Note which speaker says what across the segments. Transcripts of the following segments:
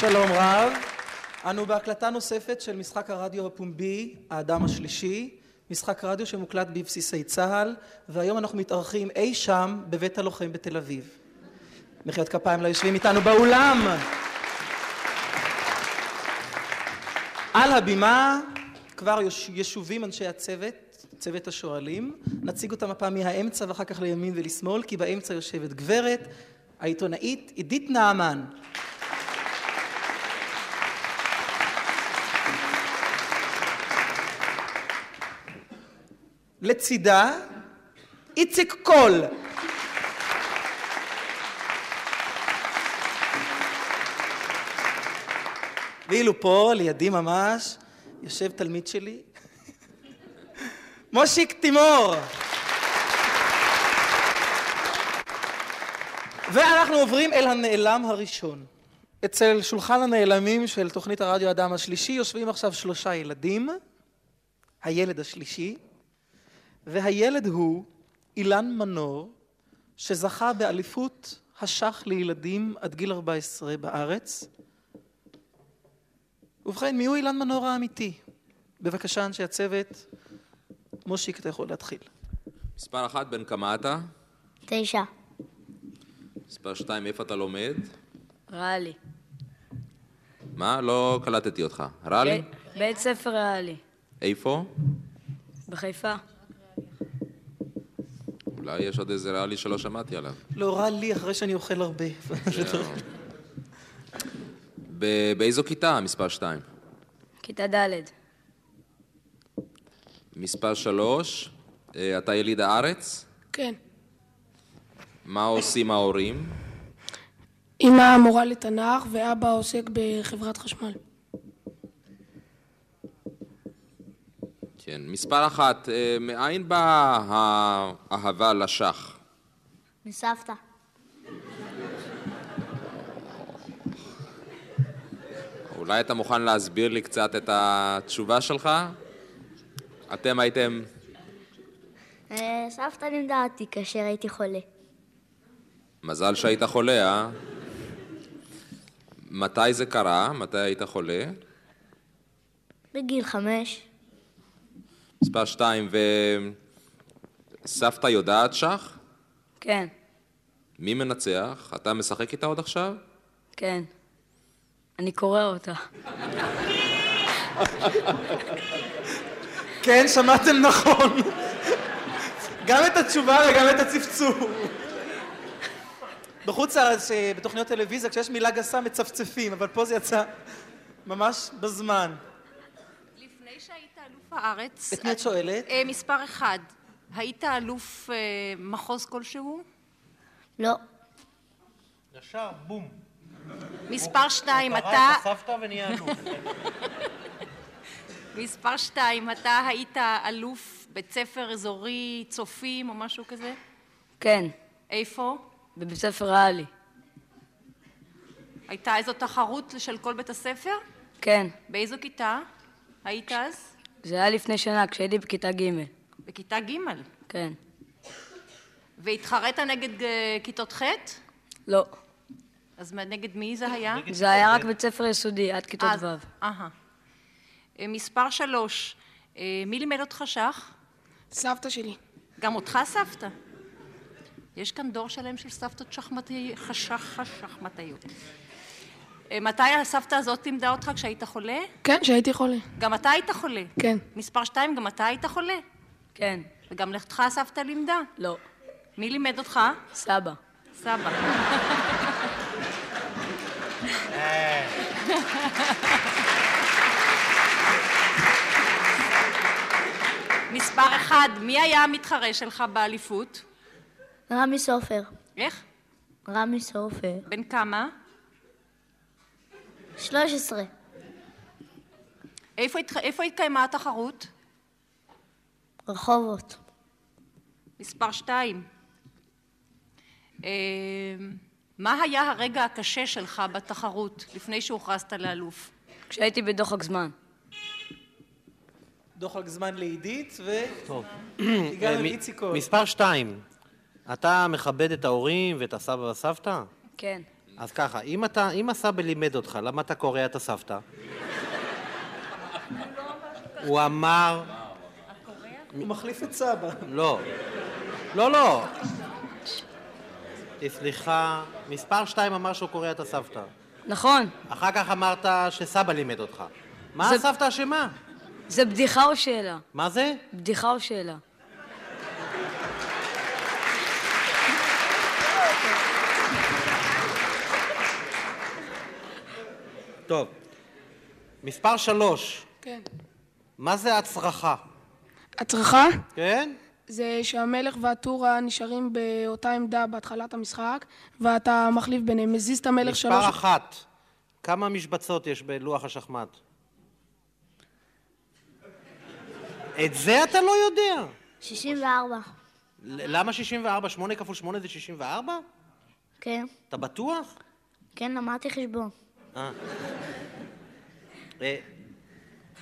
Speaker 1: שלום רב, אנו בהקלטה נוספת של משחק הרדיו הפומבי "האדם השלישי", משחק רדיו שמוקלט בבסיסי צה"ל, והיום אנחנו מתארחים אי שם בבית הלוחם בתל אביב. מחיאות כפיים ליושבים איתנו באולם. על הבימה כבר ישובים אנשי הצוות, צוות השואלים, נציג אותם הפעם מהאמצע ואחר כך לימין ולשמאל, כי באמצע יושבת גברת, העיתונאית עידית נעמן. לצידה איציק קול. ואילו פה, לידי ממש, יושב תלמיד שלי, מושיק תימור. ואנחנו עוברים אל הנעלם הראשון. אצל שולחן הנעלמים של תוכנית הרדיו אדם השלישי יושבים עכשיו שלושה ילדים, הילד השלישי, והילד הוא אילן מנור, שזכה באליפות השח לילדים עד גיל 14 בארץ. ובכן, מיהו אילן מנור האמיתי? בבקשה, אנשי הצוות. מושיק, אתה יכול להתחיל.
Speaker 2: מספר אחת, בן כמה אתה?
Speaker 3: תשע.
Speaker 2: מספר שתיים, איפה אתה לומד?
Speaker 4: ריאלי.
Speaker 2: מה? לא קלטתי אותך. ריאלי?
Speaker 4: ב- בית ספר ריאלי.
Speaker 2: איפה?
Speaker 4: בחיפה.
Speaker 2: אולי יש עוד איזה ריאלי שלא שמעתי עליו.
Speaker 1: לא רע לי אחרי שאני אוכל הרבה.
Speaker 2: ב- באיזו כיתה? מספר שתיים.
Speaker 4: כיתה ד'.
Speaker 2: מספר שלוש, אה, אתה יליד הארץ?
Speaker 5: כן.
Speaker 2: מה עושים ההורים?
Speaker 5: אמא מורה לתנ"ך ואבא עוסק בחברת חשמל.
Speaker 2: כן. מספר אחת, אה, מאין באה האהבה לשח?
Speaker 3: מסבתא.
Speaker 2: אולי אתה מוכן להסביר לי קצת את התשובה שלך? אתם הייתם...
Speaker 3: אה, סבתא לימדה אותי כאשר הייתי חולה.
Speaker 2: מזל שהיית חולה, אה? מתי זה קרה? מתי היית חולה?
Speaker 3: בגיל חמש.
Speaker 2: מספר שתיים, וסבתא יודעת שח?
Speaker 4: כן,
Speaker 2: מי מנצח? אתה משחק איתה עוד עכשיו?
Speaker 4: כן. אני קורא אותה.
Speaker 1: כן, שמעתם נכון. גם את התשובה וגם את הצפצוף. בחוץ לארץ, אה, בתוכניות טלוויזיה, כשיש מילה גסה מצפצפים, אבל פה זה יצא ממש בזמן.
Speaker 6: לפני שהיית אלוף הארץ,
Speaker 1: את מי את שואלת?
Speaker 6: אה, מספר אחד, היית אלוף אה, מחוז כלשהו?
Speaker 3: לא.
Speaker 7: ישר, בום.
Speaker 6: מספר שתיים,
Speaker 7: קרא
Speaker 6: אתה...
Speaker 7: את הסבתא ונהיה אלוף.
Speaker 6: מספר שתיים, אתה היית אלוף בית ספר אזורי צופים או משהו כזה?
Speaker 4: כן,
Speaker 6: איפה?
Speaker 4: בבית ספר ריאלי.
Speaker 6: הייתה איזו תחרות של כל בית הספר?
Speaker 4: כן,
Speaker 6: באיזו כיתה היית אז?
Speaker 4: זה היה לפני שנה, כשהייתי בכיתה ג'.
Speaker 6: בכיתה ג'.
Speaker 4: כן.
Speaker 6: והתחרית נגד אה, כיתות ח'?
Speaker 4: לא,
Speaker 6: אז מה- נגד מי זה היה?
Speaker 4: זה היה רק בית ספר יסודי, עד כיתות
Speaker 6: אז-
Speaker 4: ו'.
Speaker 6: אהה. אה, מספר שלוש, אה, מי לימד אותך שח?
Speaker 5: סבתא שלי.
Speaker 6: גם אותך סבתא. יש כאן דור שלם של סבתות שחמטי... חשך שחמטאיות. אה, מתי הסבתא הזאת לימדה אותך כשהיית חולה?
Speaker 5: כן, שהייתי חולה.
Speaker 6: גם אתה היית חולה.
Speaker 5: כן.
Speaker 6: מספר שתיים, גם אתה היית חולה.
Speaker 4: כן,
Speaker 6: וגם אותך הסבתא לימדה.
Speaker 4: לא,
Speaker 6: מי לימד אותך?
Speaker 4: סבא.
Speaker 6: סבא. מספר אחד, מי היה המתחרה שלך באליפות?
Speaker 3: רמי סופר.
Speaker 6: איך?
Speaker 3: רמי סופר.
Speaker 6: בן כמה?
Speaker 3: שלוש עשרה.
Speaker 6: איפה, התח... איפה התקיימה התחרות?
Speaker 3: רחובות.
Speaker 6: מספר שתיים. אה, מה היה הרגע הקשה שלך בתחרות לפני שהוכרזת לאלוף?
Speaker 4: כשהייתי בדוחק זמן.
Speaker 1: דוחק זמן לעידית,
Speaker 7: טוב.
Speaker 1: והגענו
Speaker 7: מ-
Speaker 1: לאיציק קול.
Speaker 7: מספר שתיים, אתה מכבד את ההורים ואת הסבא והסבתא?
Speaker 4: כן,
Speaker 8: אז ככה, אם, אתה, אם הסבא לימד אותך, למה אתה קורע את הסבתא? הוא אמר...
Speaker 1: הוא מחליף את סבא.
Speaker 8: לא. לא, לא. סליחה, מספר שתיים אמר שהוא קורע את הסבתא.
Speaker 4: נכון.
Speaker 8: אחר כך אמרת שסבא לימד אותך. מה
Speaker 4: זה-
Speaker 8: הסבתא אשמה?
Speaker 4: זה בדיחה או שאלה?
Speaker 8: מה זה?
Speaker 4: בדיחה או שאלה?
Speaker 8: טוב. מספר שלוש,
Speaker 5: כן.
Speaker 8: מה זה הצרחה?
Speaker 5: הצרחה
Speaker 8: כן?
Speaker 5: זה שהמלך והטורה נשארים באותה עמדה בהתחלת המשחק, ואתה מחליף ביניהם, מזיז את המלך שלוש...
Speaker 8: מספר אחת, כמה משבצות יש בלוח השחמט? את זה אתה לא יודע.
Speaker 3: 64.
Speaker 8: ל- למה 64? 8 כפול 8 זה 64?
Speaker 3: כן,
Speaker 8: אתה בטוח?
Speaker 3: כן, למדתי חשבון.
Speaker 8: אה. אה,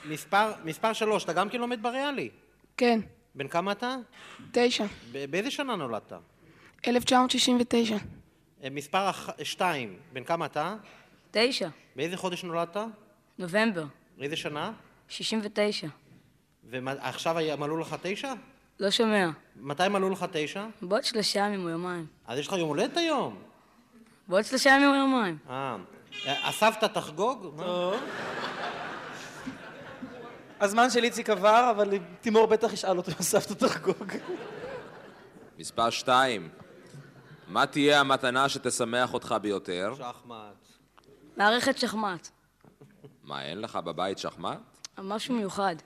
Speaker 8: מספר, מספר שלוש, אתה גם כן לומד בריאלי.
Speaker 5: כן,
Speaker 8: בן כמה אתה?
Speaker 5: תשע.
Speaker 8: ב- באיזה שנה נולדת?
Speaker 5: 1969.
Speaker 8: אה, מספר אח... שתיים, בן כמה אתה?
Speaker 4: תשע.
Speaker 8: באיזה חודש נולדת?
Speaker 4: נובמבר.
Speaker 8: באיזה שנה?
Speaker 4: 69.
Speaker 8: ועכשיו מלאו לך תשע?
Speaker 4: לא שומע.
Speaker 8: מתי מלאו לך תשע?
Speaker 4: בעוד שלושה ימים או יומיים.
Speaker 8: אז יש לך יום הולדת היום.
Speaker 4: בעוד שלושה ימים או יומיים.
Speaker 8: אה. אה, הסבתא תחגוג? מה?
Speaker 1: הזמן של איציק עבר, אבל תימור בטח ישאל אותו אם סבתא תחגוג.
Speaker 2: מספר שתיים, מה תהיה המתנה שתשמח אותך ביותר?
Speaker 8: שחמט.
Speaker 4: מערכת שחמט.
Speaker 2: מה, אין לך בבית שחמט?
Speaker 4: משהו מיוחד.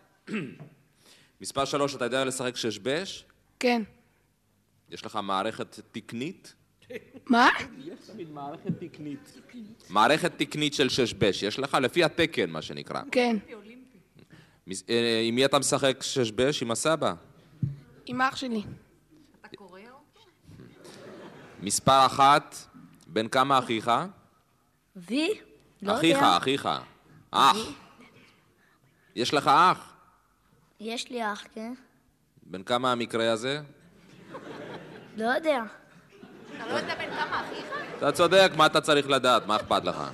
Speaker 2: מספר שלוש, אתה יודע לשחק שש-בש?
Speaker 5: כן.
Speaker 2: יש לך מערכת תקנית?
Speaker 5: מה?
Speaker 2: מערכת תקנית של שש-בש, יש לך? לפי התקן, מה שנקרא.
Speaker 5: כן.
Speaker 2: מס- אה, עם מי אתה משחק שש-בש? עם הסבא.
Speaker 5: עם אח שלי.
Speaker 2: מספר אחת, בן כמה אחיך?
Speaker 3: וי? לא
Speaker 2: אחיך,
Speaker 3: יודע.
Speaker 2: אחיך. אח. יש לך אח.
Speaker 3: יש לי אח, כן?
Speaker 2: בן כמה המקרה הזה?
Speaker 3: לא יודע.
Speaker 6: אתה לא יודע בן כמה אחיך?
Speaker 2: אתה צודק, מה אתה צריך לדעת? מה אכפת לך?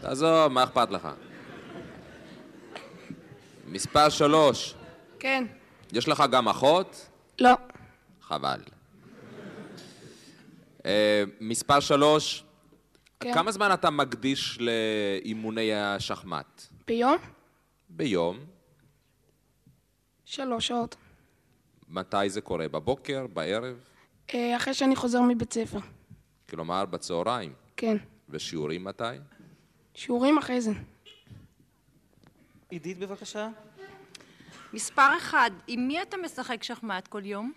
Speaker 2: תעזוב, מה אכפת לך? מספר שלוש,
Speaker 5: כן.
Speaker 2: יש לך גם אחות?
Speaker 5: לא.
Speaker 2: חבל. אה, מספר שלוש,
Speaker 5: כן.
Speaker 2: כמה זמן אתה מקדיש לאימוני השחמט?
Speaker 5: ביום?
Speaker 2: ביום.
Speaker 5: שלוש שעות.
Speaker 2: מתי זה קורה? בבוקר? בערב?
Speaker 5: אה, אחרי שאני חוזר מבית ספר.
Speaker 2: כלומר, בצהריים.
Speaker 5: כן.
Speaker 2: ושיעורים מתי?
Speaker 5: שיעורים אחרי זה.
Speaker 1: עידית, בבקשה.
Speaker 6: מספר אחד, עם מי אתה משחק שחמט כל יום?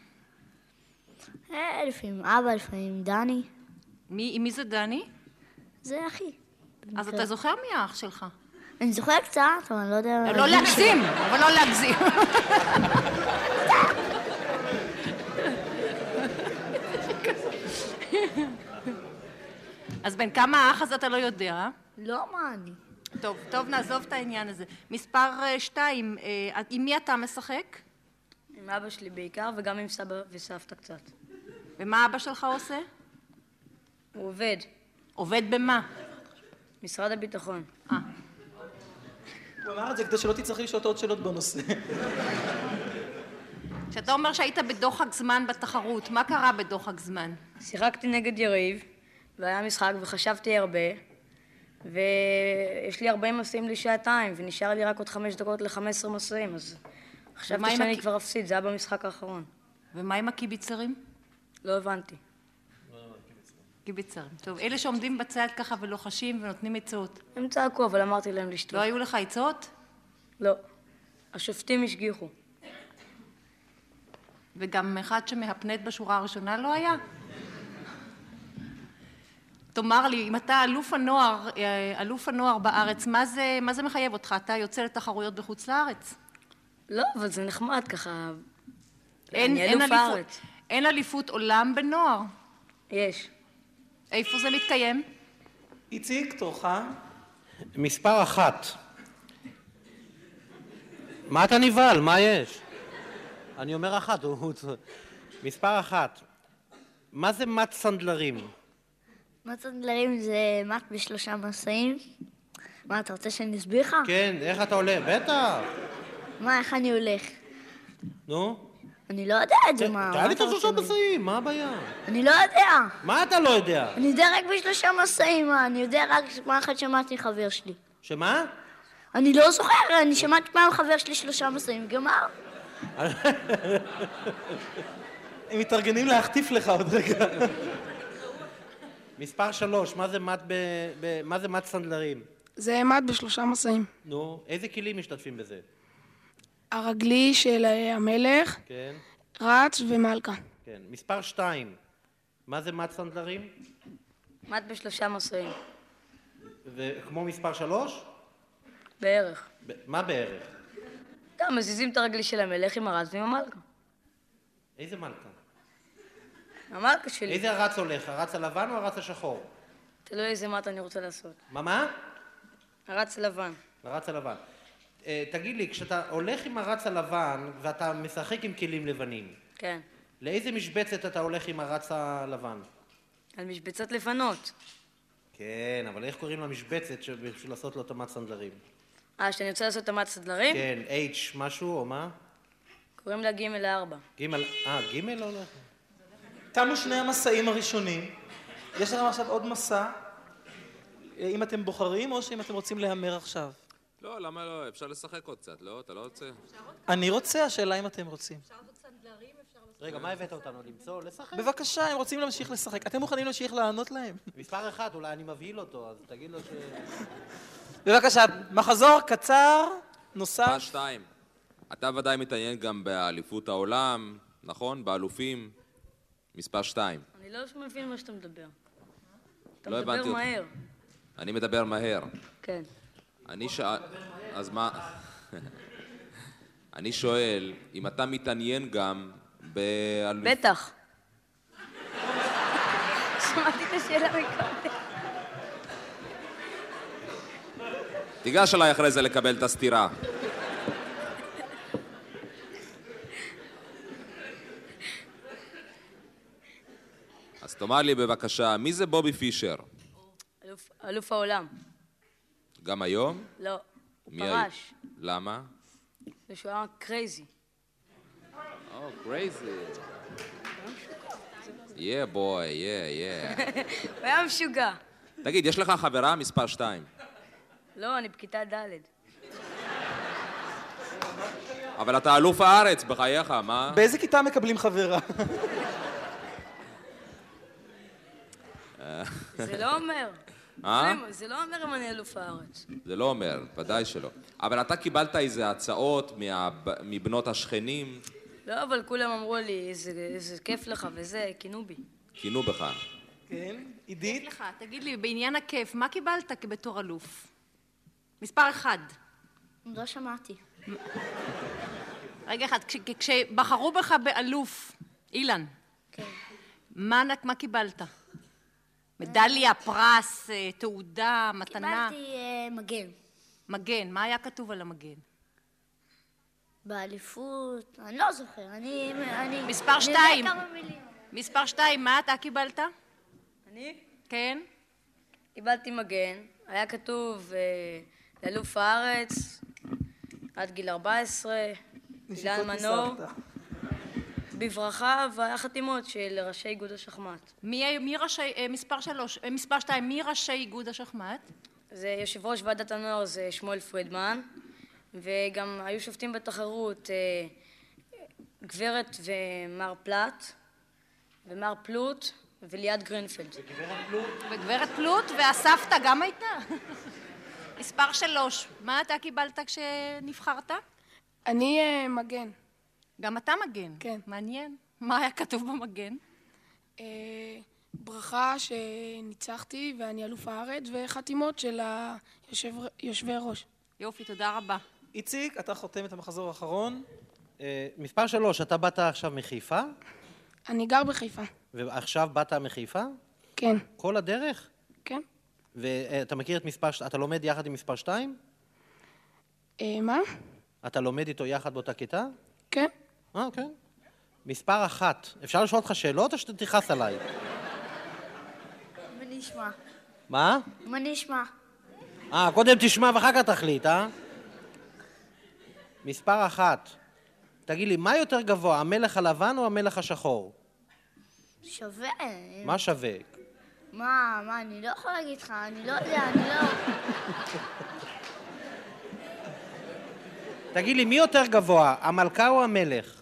Speaker 3: אה, לפעמים אבא, לפעמים דני.
Speaker 6: מי, עם מי זה דני?
Speaker 3: זה אחי.
Speaker 6: אז אתה זוכר מי האח שלך.
Speaker 3: אני זוכר קצת, אבל אני לא יודע...
Speaker 6: לא להגזים, אבל לא להגזים. אז בן כמה האח אז אתה לא יודע?
Speaker 3: לא מה אני.
Speaker 6: טוב, טוב, נעזוב את העניין הזה. מספר אה, שתיים, אה, עם מי אתה משחק?
Speaker 4: עם אבא שלי בעיקר, וגם עם סבא וסבתא קצת.
Speaker 6: ומה אבא שלך עושה?
Speaker 4: הוא עובד.
Speaker 6: עובד במה?
Speaker 4: משרד הביטחון.
Speaker 1: הוא אמר את זה כדי שלא תצטרכי לשאול אותו עוד שאלות בנושא.
Speaker 6: כשאתה אומר שהיית בדוחק זמן בתחרות, מה קרה בדוחק זמן?
Speaker 4: שיחקתי נגד יריב, והיה לא משחק, וחשבתי הרבה, ויש לי 40 מסעים לשעתיים, ונשאר לי רק עוד 5 דקות ל-15 מסעים, אז
Speaker 6: ומה
Speaker 4: חשבתי
Speaker 6: עם
Speaker 4: שאני
Speaker 6: הכ-
Speaker 4: כבר אפסיד, זה היה במשחק האחרון.
Speaker 6: ומה עם הקיביצרים?
Speaker 4: לא הבנתי.
Speaker 6: קיביצרים. טוב, אלה שעומדים בצד ככה ולוחשים ונותנים עצות.
Speaker 4: הם צעקו, אבל אמרתי להם
Speaker 6: לא
Speaker 4: לשתוק.
Speaker 6: היו לך עצות?
Speaker 4: לא. השופטים השגיחו.
Speaker 6: וגם אחד שמהפנט בשורה הראשונה לא היה? תאמר לי, אם אתה אלוף הנוער, אה, אלוף הנוער בארץ, מה זה, מה זה מחייב אותך? אתה יוצא לתחרויות בחוץ לארץ?
Speaker 4: לא, אבל זה נחמד ככה.
Speaker 6: אין,
Speaker 4: אני
Speaker 6: אין,
Speaker 4: אלוף
Speaker 6: אליפות,
Speaker 4: הארץ.
Speaker 6: אין אליפות עולם בנוער.
Speaker 4: יש.
Speaker 6: איפה זה מתקיים?
Speaker 1: איציק, תורך.
Speaker 8: מספר אחת. מה אתה נבהל? מה יש? אני אומר אחת, הוא... הוא צ- מספר אחת. מה זה מת סנדלרים?
Speaker 3: מצות גללים זה מט בשלושה מסעים. מה, אתה רוצה שאני אסביר לך?
Speaker 8: כן, איך אתה עולה? בטח.
Speaker 3: מה, איך אני הולך?
Speaker 8: נו.
Speaker 3: אני לא יודע את זה, מה... מה
Speaker 8: כן, תעלי את
Speaker 3: אתה רוצה
Speaker 8: השלושה
Speaker 3: ממני?
Speaker 8: משאים, מה הבעיה?
Speaker 3: אני לא יודע.
Speaker 8: מה אתה לא יודע?
Speaker 3: אני יודע רק בשלושה מסעים, מה? אני יודע רק פעם אחת שמעתי חבר שלי.
Speaker 8: שמה?
Speaker 3: אני לא זוכר, אני שמעתי פעם חבר שלי שלושה מסעים, גמר.
Speaker 1: הם מתארגנים להחטיף לך עוד רגע.
Speaker 8: מספר שלוש, מה זה מת ב... ב- מה זה מת סנדלרים?
Speaker 5: זה מד בשלושה מסעים.
Speaker 8: נו, איזה כלים משתתפים בזה?
Speaker 5: הרגלי של אה, המלך,
Speaker 8: כן,
Speaker 5: רץ ומלכה.
Speaker 8: כן. מספר שתיים, מה זה מת סנדלרים?
Speaker 4: מת בשלושה מסעים,
Speaker 8: זה כמו מספר שלוש?
Speaker 4: בערך.
Speaker 8: ב- מה בערך?
Speaker 4: גם מזיזים את הרגלי של המלך עם הרץ ועם המלכה.
Speaker 8: איזה מלכה?
Speaker 4: המלכה שלי,
Speaker 8: איזה הרץ הולך? הרץ הלבן או הרץ השחור?
Speaker 4: תלוי איזה מת אני רוצה לעשות.
Speaker 8: מה מה?
Speaker 4: הרץ לבן.
Speaker 8: הרץ הלבן. אה, תגיד לי, כשאתה הולך עם הרץ הלבן ואתה משחק עם כלים לבנים,
Speaker 4: כן.
Speaker 8: לאיזה משבצת אתה הולך עם הרץ הלבן?
Speaker 4: על משבצות לבנות.
Speaker 8: כן, אבל איך קוראים למשבצת בשביל לעשות לו את המת סנדלרים?
Speaker 4: אה, שאני רוצה לעשות את המת סדלרים?
Speaker 8: כן, H משהו או מה?
Speaker 4: קוראים לה ג' לארבע.
Speaker 8: ג' אה, ג' או לא?
Speaker 1: תמו שני המסעים הראשונים. יש לכם עכשיו עוד מסע, אה, אם אתם בוחרים או שאם אתם רוצים להמר עכשיו.
Speaker 2: לא, למה לא? אפשר לשחק עוד קצת, לא? אתה לא רוצה?
Speaker 1: אני רוצה, השאלה אם אתם רוצים.
Speaker 8: רגע, מה הבאת אותנו? למצוא? לשחק?
Speaker 1: בבקשה, הם רוצים להמשיך לשחק. אתם מוכנים להמשיך לענות להם?
Speaker 8: מספר אחד, אולי אני מבהיל אותו, אז תגיד לו ש...
Speaker 1: בבקשה, מחזור קצר, נוסף.
Speaker 2: מספר שתיים. אתה ודאי מתעניין גם באליפות העולם, נכון? באלופים. מספר שתיים.
Speaker 4: אני לא מבין מה שאתה מדבר. אתה
Speaker 2: לא הבנתי
Speaker 4: מדבר
Speaker 2: אותך.
Speaker 4: מהר.
Speaker 2: אני מדבר מהר.
Speaker 4: כן.
Speaker 2: אני שאל... אז מה... אני שואל, אם אתה מתעניין גם באלופ...
Speaker 4: בטח. שמעתי את השאלה מקודם.
Speaker 2: תיגש אליי אחרי זה לקבל את הסטירה. אז תאמר לי בבקשה, מי זה בובי פישר?
Speaker 4: אלוף- אלוף העולם.
Speaker 2: גם היום?
Speaker 4: לא. הוא
Speaker 2: מי היה?
Speaker 4: פרש.
Speaker 2: למה?
Speaker 4: זה שהוא היה קרייזי.
Speaker 2: Oh, crazy. Yeah, boy, yeah, yeah.
Speaker 4: הוא היה משוגע.
Speaker 2: תגיד, יש לך חברה מספר שתיים,
Speaker 4: לא, אני בכיתה ד'.
Speaker 2: אבל אתה אלוף הארץ, בחייך, מה?
Speaker 1: באיזה כיתה מקבלים חברה?
Speaker 4: זה לא אומר.
Speaker 2: אה?
Speaker 4: זה לא אומר אם אני אלוף הארץ.
Speaker 2: זה לא אומר, ודאי שלא. אבל אתה קיבלת איזה הצעות מה... מבנות השכנים,
Speaker 4: לא, אבל כולם אמרו לי, איזה איזה כיף לך וזה, כינו בי.
Speaker 2: כינו בך.
Speaker 1: כן, עידית?
Speaker 6: לך, תגיד לי, בעניין הכיף, מה קיבלת בתור אלוף? מספר אחד.
Speaker 3: לא שמעתי.
Speaker 6: רגע אחד, כש- כשבחרו בך באלוף, אילן.
Speaker 3: כן.
Speaker 6: מה נ- מה קיבלת? מדליה, פרס, אה, תעודה, מתנה?
Speaker 3: קיבלתי אה, מגן.
Speaker 6: מגן, מה היה כתוב על המגן?
Speaker 3: באליפות, אני לא זוכר, אני... אני
Speaker 6: מספר
Speaker 3: אני יודע
Speaker 6: שתיים.
Speaker 3: כמה מילים.
Speaker 6: מספר שתיים, מה אתה קיבלת?
Speaker 4: אני
Speaker 6: כן?
Speaker 4: קיבלתי מגן, היה כתוב אה, לאלוף הארץ, עד גיל 14, אילן
Speaker 1: נשיקות
Speaker 4: מנור,
Speaker 1: מסבתא.
Speaker 4: בברכה, והיה חתימות של ראשי איגוד השחמט.
Speaker 6: מי, מי ראשי, אה, מספר שלוש, אה, מספר שתיים, מי ראשי איגוד השחמט?
Speaker 4: זה יושב ראש ועדת הנוער זה שמואל פרידמן, וגם היו שופטים בתחרות אה, גברת ומר פלט, ומר פלוט, וליעד גרינפלד.
Speaker 6: וגברת פלוט והסבתא גם הייתה. מספר שלוש, מה אתה קיבלת כשנבחרת?
Speaker 5: אני אה, מגן.
Speaker 6: גם אתה מגן.
Speaker 5: כן.
Speaker 6: מעניין. מה היה כתוב במגן?
Speaker 5: אה, ברכה שניצחתי ואני אלוף הארץ, וחתימות של היושבי ראש.
Speaker 6: יופי, תודה רבה.
Speaker 1: איציק, אתה חותם את המחזור האחרון.
Speaker 8: אה, מספר שלוש, אתה באת עכשיו מחיפה,
Speaker 5: אני גר בחיפה.
Speaker 8: ועכשיו באת מחיפה?
Speaker 5: כן.
Speaker 8: כל הדרך?
Speaker 5: כן.
Speaker 8: ואתה מכיר את מספר... ש- אתה לומד יחד עם מספר שתיים?
Speaker 5: אה, מה?
Speaker 8: אתה לומד איתו יחד באותה כיתה?
Speaker 5: כן.
Speaker 8: אה, כן. מספר אחת, אפשר לשאול אותך שאלות או שאתה תכעס עליי?
Speaker 3: אני אני אשמע.
Speaker 8: מה?
Speaker 3: אם אני אשמע.
Speaker 8: אה, קודם תשמע ואחר כך תחליט, אה? מספר אחת. תגיד לי, מה יותר גבוה, המלך הלבן או המלך השחור?
Speaker 3: שווה.
Speaker 8: מה שווה?
Speaker 3: מה, מה, אני לא יכול להגיד לך, אני לא יודע, אני לא...
Speaker 8: תגיד לי, מי יותר גבוה, המלכה או המלך?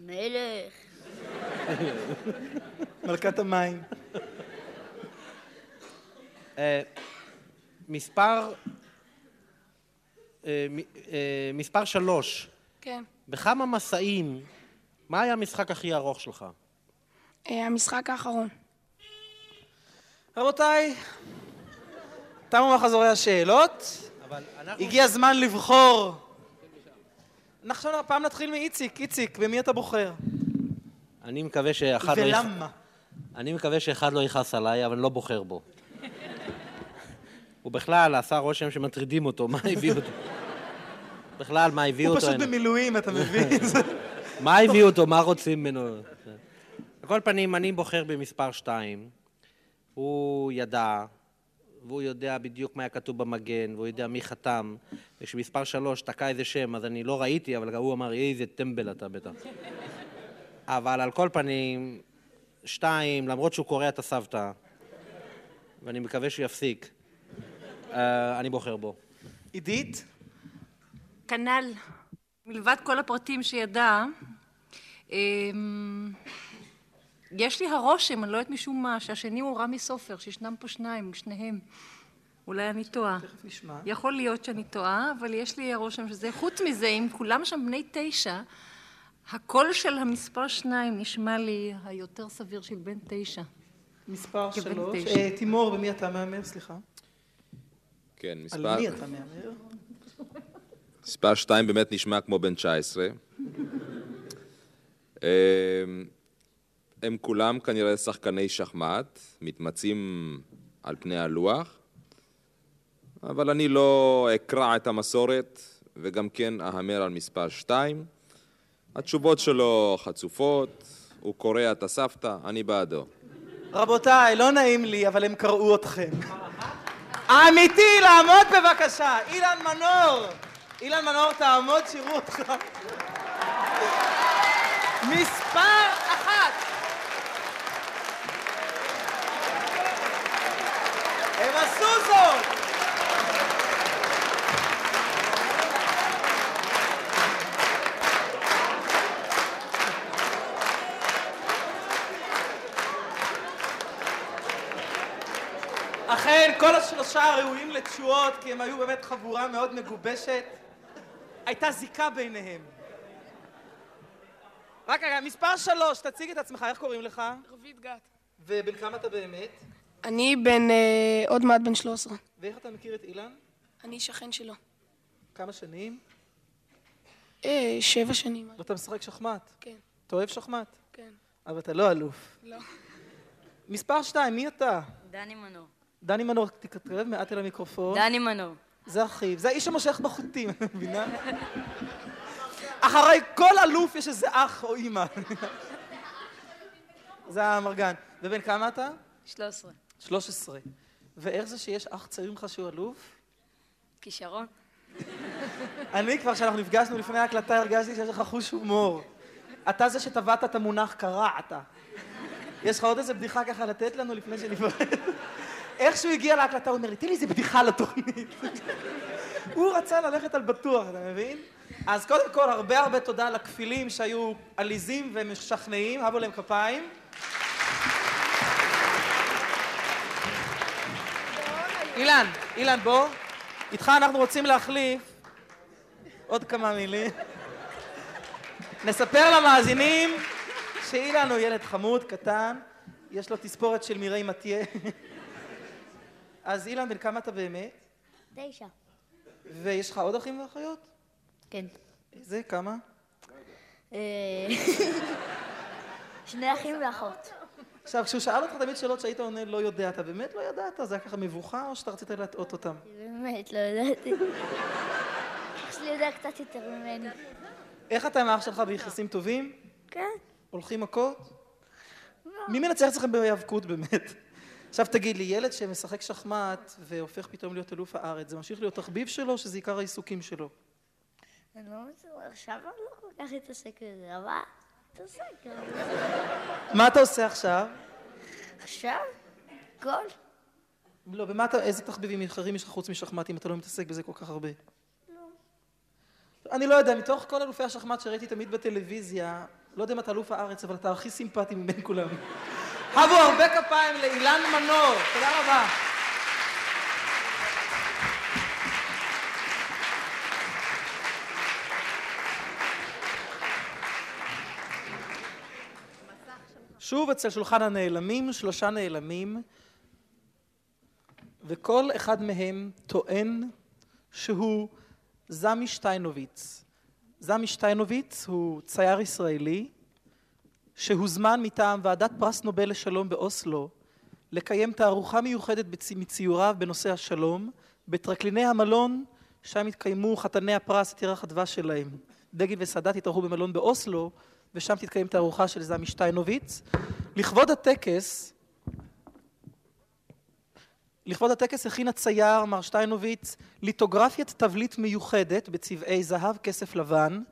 Speaker 3: מלך.
Speaker 1: מלכת המים.
Speaker 8: אה, מספר... אה, מ- אה, מספר שלוש.
Speaker 5: כן.
Speaker 8: בכמה מסעים, מה היה המשחק הכי ארוך שלך?
Speaker 5: אה, המשחק האחרון.
Speaker 1: רבותיי, תמו מחזורי השאלות.
Speaker 8: אבל אנחנו...
Speaker 1: הגיע הזמן לבחור. נחשוב, הפעם נתחיל מאיציק. איציק, במי אתה בוחר?
Speaker 8: אני מקווה שאחד לא... יכ-
Speaker 1: ולמה?
Speaker 8: אני מקווה שאחד לא יכעס עליי, אבל אני לא בוחר בו. הוא בכלל עשה רושם שמטרידים אותו, מה הביא אותו? בכלל, מה הביא
Speaker 1: הוא
Speaker 8: אותו?
Speaker 1: פשוט
Speaker 8: הנה?
Speaker 1: במילואים, אתה מבין? זה-
Speaker 8: מה הביא אותו? מה רוצים ממנו? על כל פנים, אני בוחר במספר שתיים. הוא ידע, והוא יודע בדיוק מה היה כתוב במגן, והוא יודע מי חתם. וכשמספר שלוש תקע איזה שם, אז אני לא ראיתי, אבל גם הוא אמר, איזה טמבל אתה בטח. אבל על כל פנים, שתיים, למרות שהוא קורע את הסבתא, ואני מקווה שהוא יפסיק, אה, אני בוחר בו.
Speaker 1: עידית?
Speaker 6: כנ"ל, מלבד כל הפרטים שידע, אמ, יש לי הרושם, אני לא יודעת משום מה, שהשני הוא רמי סופר, שישנם פה שניים, שניהם. אולי אני טועה.
Speaker 1: נשמע.
Speaker 6: יכול להיות שאני טועה, אבל יש לי הרושם שזה. חוץ מזה, אם כולם שם בני תשע, הקול של המספר שניים נשמע לי היותר סביר של בן תשע.
Speaker 1: מספר
Speaker 6: כבן
Speaker 1: שלוש.
Speaker 6: תשע.
Speaker 1: אה, תימור, במי אתה מהמר? סליחה.
Speaker 2: כן,
Speaker 1: על
Speaker 2: מספר...
Speaker 1: מי אתה מהמר?
Speaker 2: מספר 2 באמת נשמע כמו בן 19. אמ, הם כולם כנראה שחקני שחמט, מתמצים על פני הלוח, אבל אני לא אקרע את המסורת, וגם כן אהמר על מספר 2. התשובות שלו חצופות, הוא קורע את הסבתא, אני בעדו.
Speaker 1: רבותיי, לא נעים לי, אבל הם קרעו אתכם. אמיתי, לעמוד בבקשה. אילן מנור. אילן מנור, תעמוד, שיראו אותך. מספר אחת. הם עשו זאת! אכן, כל השלושה ראויים לתשואות, כי הם היו באמת חבורה מאוד מגובשת. הייתה זיקה ביניהם. רק רגע, מספר שלוש, תציג את עצמך, איך קוראים לך?
Speaker 5: רביד גת.
Speaker 1: ובן כמה אתה באמת?
Speaker 5: אני בן, אה, עוד מעט בן 13.
Speaker 1: ואיך אתה מכיר את אילן?
Speaker 5: אני שכן שלו.
Speaker 1: כמה שנים?
Speaker 5: אה, שבע שנים.
Speaker 1: ואתה משחק שחמט.
Speaker 5: כן,
Speaker 1: אתה אוהב שחמט,
Speaker 5: כן.
Speaker 1: אבל אתה לא אלוף.
Speaker 5: לא.
Speaker 1: מספר שתיים, מי אתה?
Speaker 4: דני מנור.
Speaker 1: דני מנור, תתקרב מעט אל המיקרופון.
Speaker 4: דני מנור.
Speaker 1: זה אחיו, זה האיש שמושך בחוטים, את מבינה? אחרי כל אלוף יש איזה אח או אימא. זה המרגן. ובן כמה אתה?
Speaker 4: 13.
Speaker 1: 13. ואיך זה שיש אח צעיר ממך שהוא אלוף?
Speaker 4: כישרון.
Speaker 1: אני כבר, כשאנחנו נפגשנו לפני ההקלטה, הרגשתי שיש לך חוש הומור. אתה זה שטבעת את המונח קרעת. יש לך עוד איזה בדיחה ככה לתת לנו לפני שנפרד? איך שהוא הגיע להקלטה, הוא אומר לי, תן לי איזה בדיחה לתוכנית. הוא רצה ללכת על בטוח, אתה מבין? אז קודם כל, הרבה הרבה תודה לכפילים שהיו עליזים ומשכנעים, הבו להם כפיים. אילן, אילן, בוא. איתך אנחנו רוצים להחליף עוד כמה מילים. נספר למאזינים שאילן הוא ילד חמוד, קטן, יש לו תספורת של מירי מתיה. אז אילן, בן כמה אתה באמת?
Speaker 3: תשע.
Speaker 1: ויש לך עוד אחים ואחיות?
Speaker 3: כן.
Speaker 1: איזה? כמה?
Speaker 3: אה, שני אחים ואחות.
Speaker 1: עכשיו, כשהוא שאל אותך תמיד שאלות שהיית עונה לא יודע, אתה באמת לא ידעת? זה היה ככה מבוכה או שאתה רצית להטעות אותם?
Speaker 3: באמת, לא ידעתי. אח שלי יודע קצת יותר ממני.
Speaker 1: איך אתה עם האח שלך ביחסים טובים?
Speaker 3: כן.
Speaker 1: הולכים מכות? מי מנצח אצלכם בהיאבקות באמת? עכשיו תגיד לי, ילד שמשחק שחמט והופך פתאום להיות אלוף הארץ, זה ממשיך להיות תחביב שלו או שזה עיקר העיסוקים שלו?
Speaker 3: אני לא מצליחה, עכשיו אני לא כל כך אתעסק בזה, אבל אתעסק בזה.
Speaker 1: מה אתה עושה עכשיו?
Speaker 3: עכשיו? גול?
Speaker 1: לא, במה אתה, איזה תחביבים אחרים יש לך חוץ משחמט אם אתה לא מתעסק בזה כל כך הרבה? אני לא יודע, מתוך כל אלופי השחמט שראיתי תמיד בטלוויזיה, לא יודע אם אתה אלוף הארץ, אבל אתה הכי סימפטי מבין כולם. הבו הרבה כפיים לאילן מנור, תודה רבה. שוב אצל שולחן הנעלמים, שלושה נעלמים, וכל אחד מהם טוען שהוא זמי שטיינוביץ. זמי שטיינוביץ הוא צייר ישראלי שהוזמן מטעם ועדת פרס נובל לשלום באוסלו לקיים תערוכה מיוחדת בצי- מציוריו בנושא השלום בטרקליני המלון שם התקיימו חתני הפרס, יתירח הדבש שלהם. בגין וסאדאת התארחו במלון באוסלו ושם תתקיים תערוכה של זמי שטיינוביץ. לכבוד הטקס לכבוד הטקס הכין הצייר, מר שטיינוביץ, ליטוגרפיית תבליט מיוחדת בצבעי זהב כסף לבן,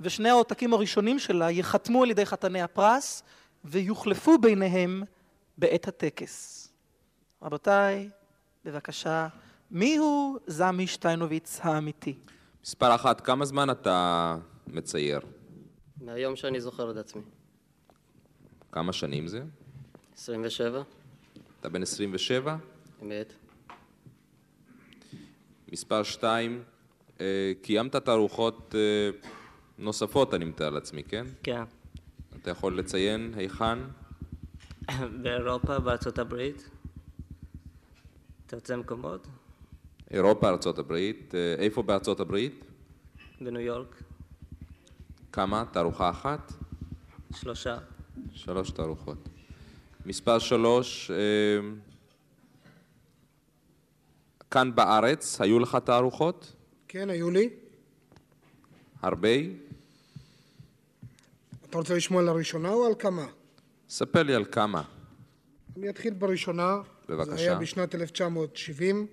Speaker 1: ושני העותקים הראשונים שלה ייחתמו על ידי חתני הפרס, ויוחלפו ביניהם בעת הטקס. רבותיי, בבקשה, מיהו זמי שטיינוביץ האמיתי?
Speaker 2: מספר אחת, כמה זמן אתה מצייר?
Speaker 9: מהיום שאני זוכר את עצמי.
Speaker 2: כמה שנים זה?
Speaker 9: 27?
Speaker 2: אתה בן 27?
Speaker 9: אמת.
Speaker 2: מספר שתיים, אה, קיימת תערוכות אה, נוספות, אני מתאר לעצמי, כן?
Speaker 9: כן.
Speaker 2: אתה יכול לציין היכן?
Speaker 9: באירופה, בארצות הברית. אתה רוצה מקומות?
Speaker 2: אירופה, ארצות הברית. אה, איפה בארצות הברית?
Speaker 9: בניו יורק.
Speaker 2: כמה? תערוכה אחת?
Speaker 9: שלושה.
Speaker 2: שלוש תערוכות. מספר שלוש, אה, כאן בארץ היו לך תערוכות?
Speaker 10: כן, היו לי.
Speaker 2: הרבה?
Speaker 10: אתה רוצה לשמוע על הראשונה או על כמה?
Speaker 2: ספר לי על כמה.
Speaker 10: אני אתחיל בראשונה.
Speaker 2: בבקשה.
Speaker 10: זה היה בשנת 1970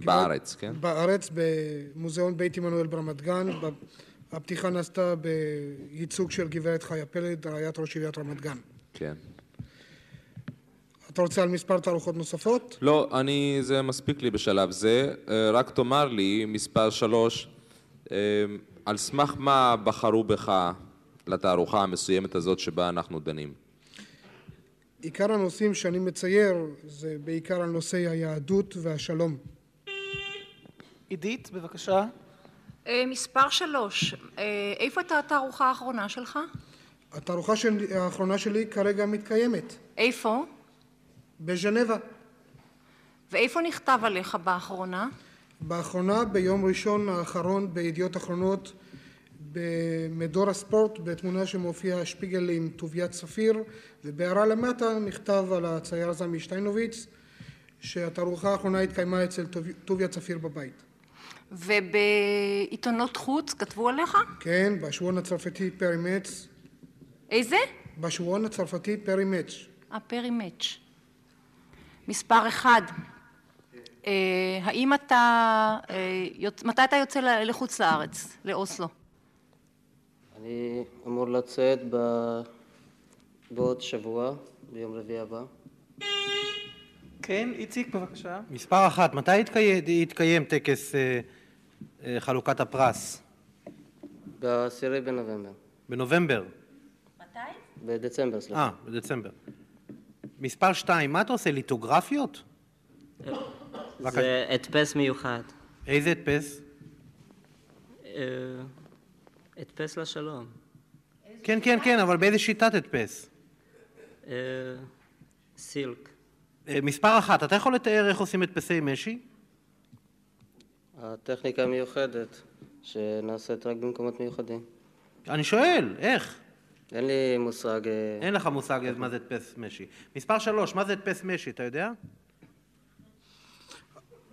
Speaker 2: בארץ, כן?
Speaker 10: בארץ, במוזיאון בית עמנואל ברמת גן. ב- הפתיחה נעשתה בייצוג של גברת חיה פלד, רעיית ראש עיריית רמת גן.
Speaker 2: כן.
Speaker 10: אתה רוצה על מספר תערוכות נוספות?
Speaker 2: לא, אני, זה מספיק לי בשלב זה. אה, רק תאמר לי, מספר שלוש, אה, על סמך מה בחרו בך לתערוכה המסוימת הזאת שבה אנחנו דנים?
Speaker 10: עיקר הנושאים שאני מצייר זה בעיקר על נושאי היהדות והשלום.
Speaker 1: עידית, בבקשה.
Speaker 6: אה, מספר שלוש, אה, איפה הייתה התערוכה האחרונה שלך?
Speaker 10: התערוכה של- האחרונה שלי כרגע מתקיימת,
Speaker 6: איפה?
Speaker 10: בז'נבה.
Speaker 6: ואיפה נכתב עליך באחרונה?
Speaker 10: באחרונה, ביום ראשון האחרון בידיעות אחרונות, במדור הספורט, בתמונה שמופיע שפיגל עם טוביית ספיר, ובהערה למטה נכתב על הצייר זמי שטיינוביץ, שהתערוכה האחרונה התקיימה אצל טוב- טוביית ספיר בבית.
Speaker 6: ובעיתונות חוץ כתבו עליך?
Speaker 10: כן, בשבועון הצרפתי פרי מצ',
Speaker 6: איזה?
Speaker 10: בשבועון הצרפתי פרי מצ'.
Speaker 6: הפרי מאץ'. מספר אחד, אה, האם אתה, אה, יוצ- מתי אתה יוצא ל- לחוץ לארץ, לאוסלו?
Speaker 9: אני אמור לצאת ב... בעוד שבוע, ביום רביעי הבא.
Speaker 1: כן, איציק, בבקשה.
Speaker 8: מספר אחת, מתי יתקיים, יתקיים טקס אה, אה, חלוקת הפרס?
Speaker 9: ב-10 בנובמבר.
Speaker 8: בנובמבר.
Speaker 9: בדצמבר,
Speaker 8: אה,
Speaker 9: סליחה.
Speaker 8: בדצמבר. מספר שתיים, מה אתה עושה, ליטוגרפיות?
Speaker 9: זה הדפס מיוחד.
Speaker 8: איזה הדפס?
Speaker 9: אה, הדפס לשלום.
Speaker 8: כן, כן, כן, אבל באיזה שיטת הדפס?
Speaker 9: אה, סילק.
Speaker 8: אה, מספר אחת, אתה יכול לתאר איך עושים הדפסי משי? אה.
Speaker 9: הטכניקה המיוחדת, שנעשית רק במקומות מיוחדים.
Speaker 8: אני שואל, איך?
Speaker 9: אין לי מושג... אה,
Speaker 8: אין לך מושג מה זה הדפס משי. מספר שלוש, מה זה הדפס משי, אתה יודע?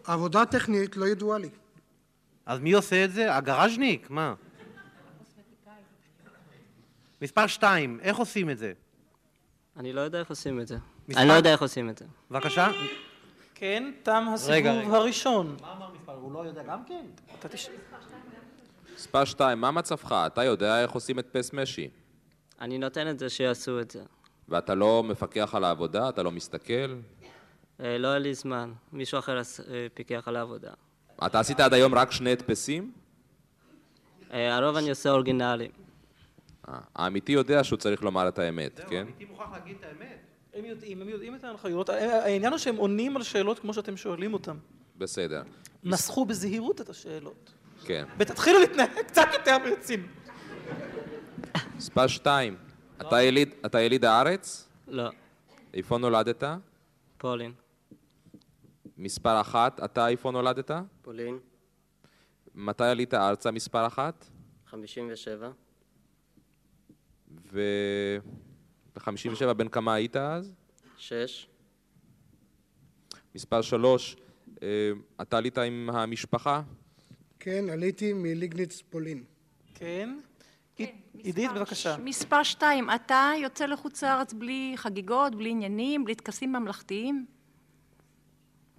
Speaker 10: עבודה טכנית לא ידועה לי.
Speaker 8: אז מי עושה את זה? הגראז'ניק? מה? מספר שתיים, איך עושים את זה?
Speaker 9: אני לא יודע איך עושים את זה.
Speaker 8: מספר?
Speaker 9: אני לא יודע איך עושים את זה.
Speaker 8: בבקשה.
Speaker 1: כן, תם
Speaker 8: רגע,
Speaker 1: הסיבוב
Speaker 8: רגע.
Speaker 1: הראשון.
Speaker 8: מה אמר מספר? הוא לא יודע גם כן?
Speaker 1: אתה תשאל.
Speaker 2: מספר 2, מה מצבך? אתה יודע איך עושים את פס משי.
Speaker 9: אני נותן את זה שיעשו את זה.
Speaker 2: ואתה לא מפקח על העבודה? אתה לא מסתכל?
Speaker 9: אה, לא היה לי זמן, מישהו אחר עש- אה, פיקח על העבודה.
Speaker 2: אתה עשית עד היום רק שני הדפסים?
Speaker 9: אה, הרוב אני עושה אורגינלים.
Speaker 2: אה, האמיתי יודע שהוא צריך לומר את האמת, כן?
Speaker 1: מוכרח להגיד את האמת. הם יודעים, הם יודעים את ההנחיות. העניין הוא שהם עונים על שאלות כמו שאתם שואלים אותם.
Speaker 2: בסדר.
Speaker 1: נסחו בזהירות את השאלות.
Speaker 2: כן.
Speaker 1: ותתחילו להתנהג קצת יותר ברצינות.
Speaker 2: מספר 2, אתה יליד- אתה יליד הארץ?
Speaker 9: לא.
Speaker 2: איפה נולדת?
Speaker 9: פולין.
Speaker 2: מספר 1, אתה איפה נולדת?
Speaker 9: פולין,
Speaker 2: מתי עלית ארצה מספר 1?
Speaker 9: 57,
Speaker 2: ו... ב-57 בן כמה היית אז?
Speaker 9: 6,
Speaker 2: מספר 3, אתה עלית עם המשפחה?
Speaker 10: כן, עליתי מליגניץ פולין.
Speaker 1: כן. עידית, בבקשה.
Speaker 6: מספר שתיים, אתה יוצא לחוץ לארץ בלי חגיגות, בלי עניינים, בלי טקסים ממלכתיים?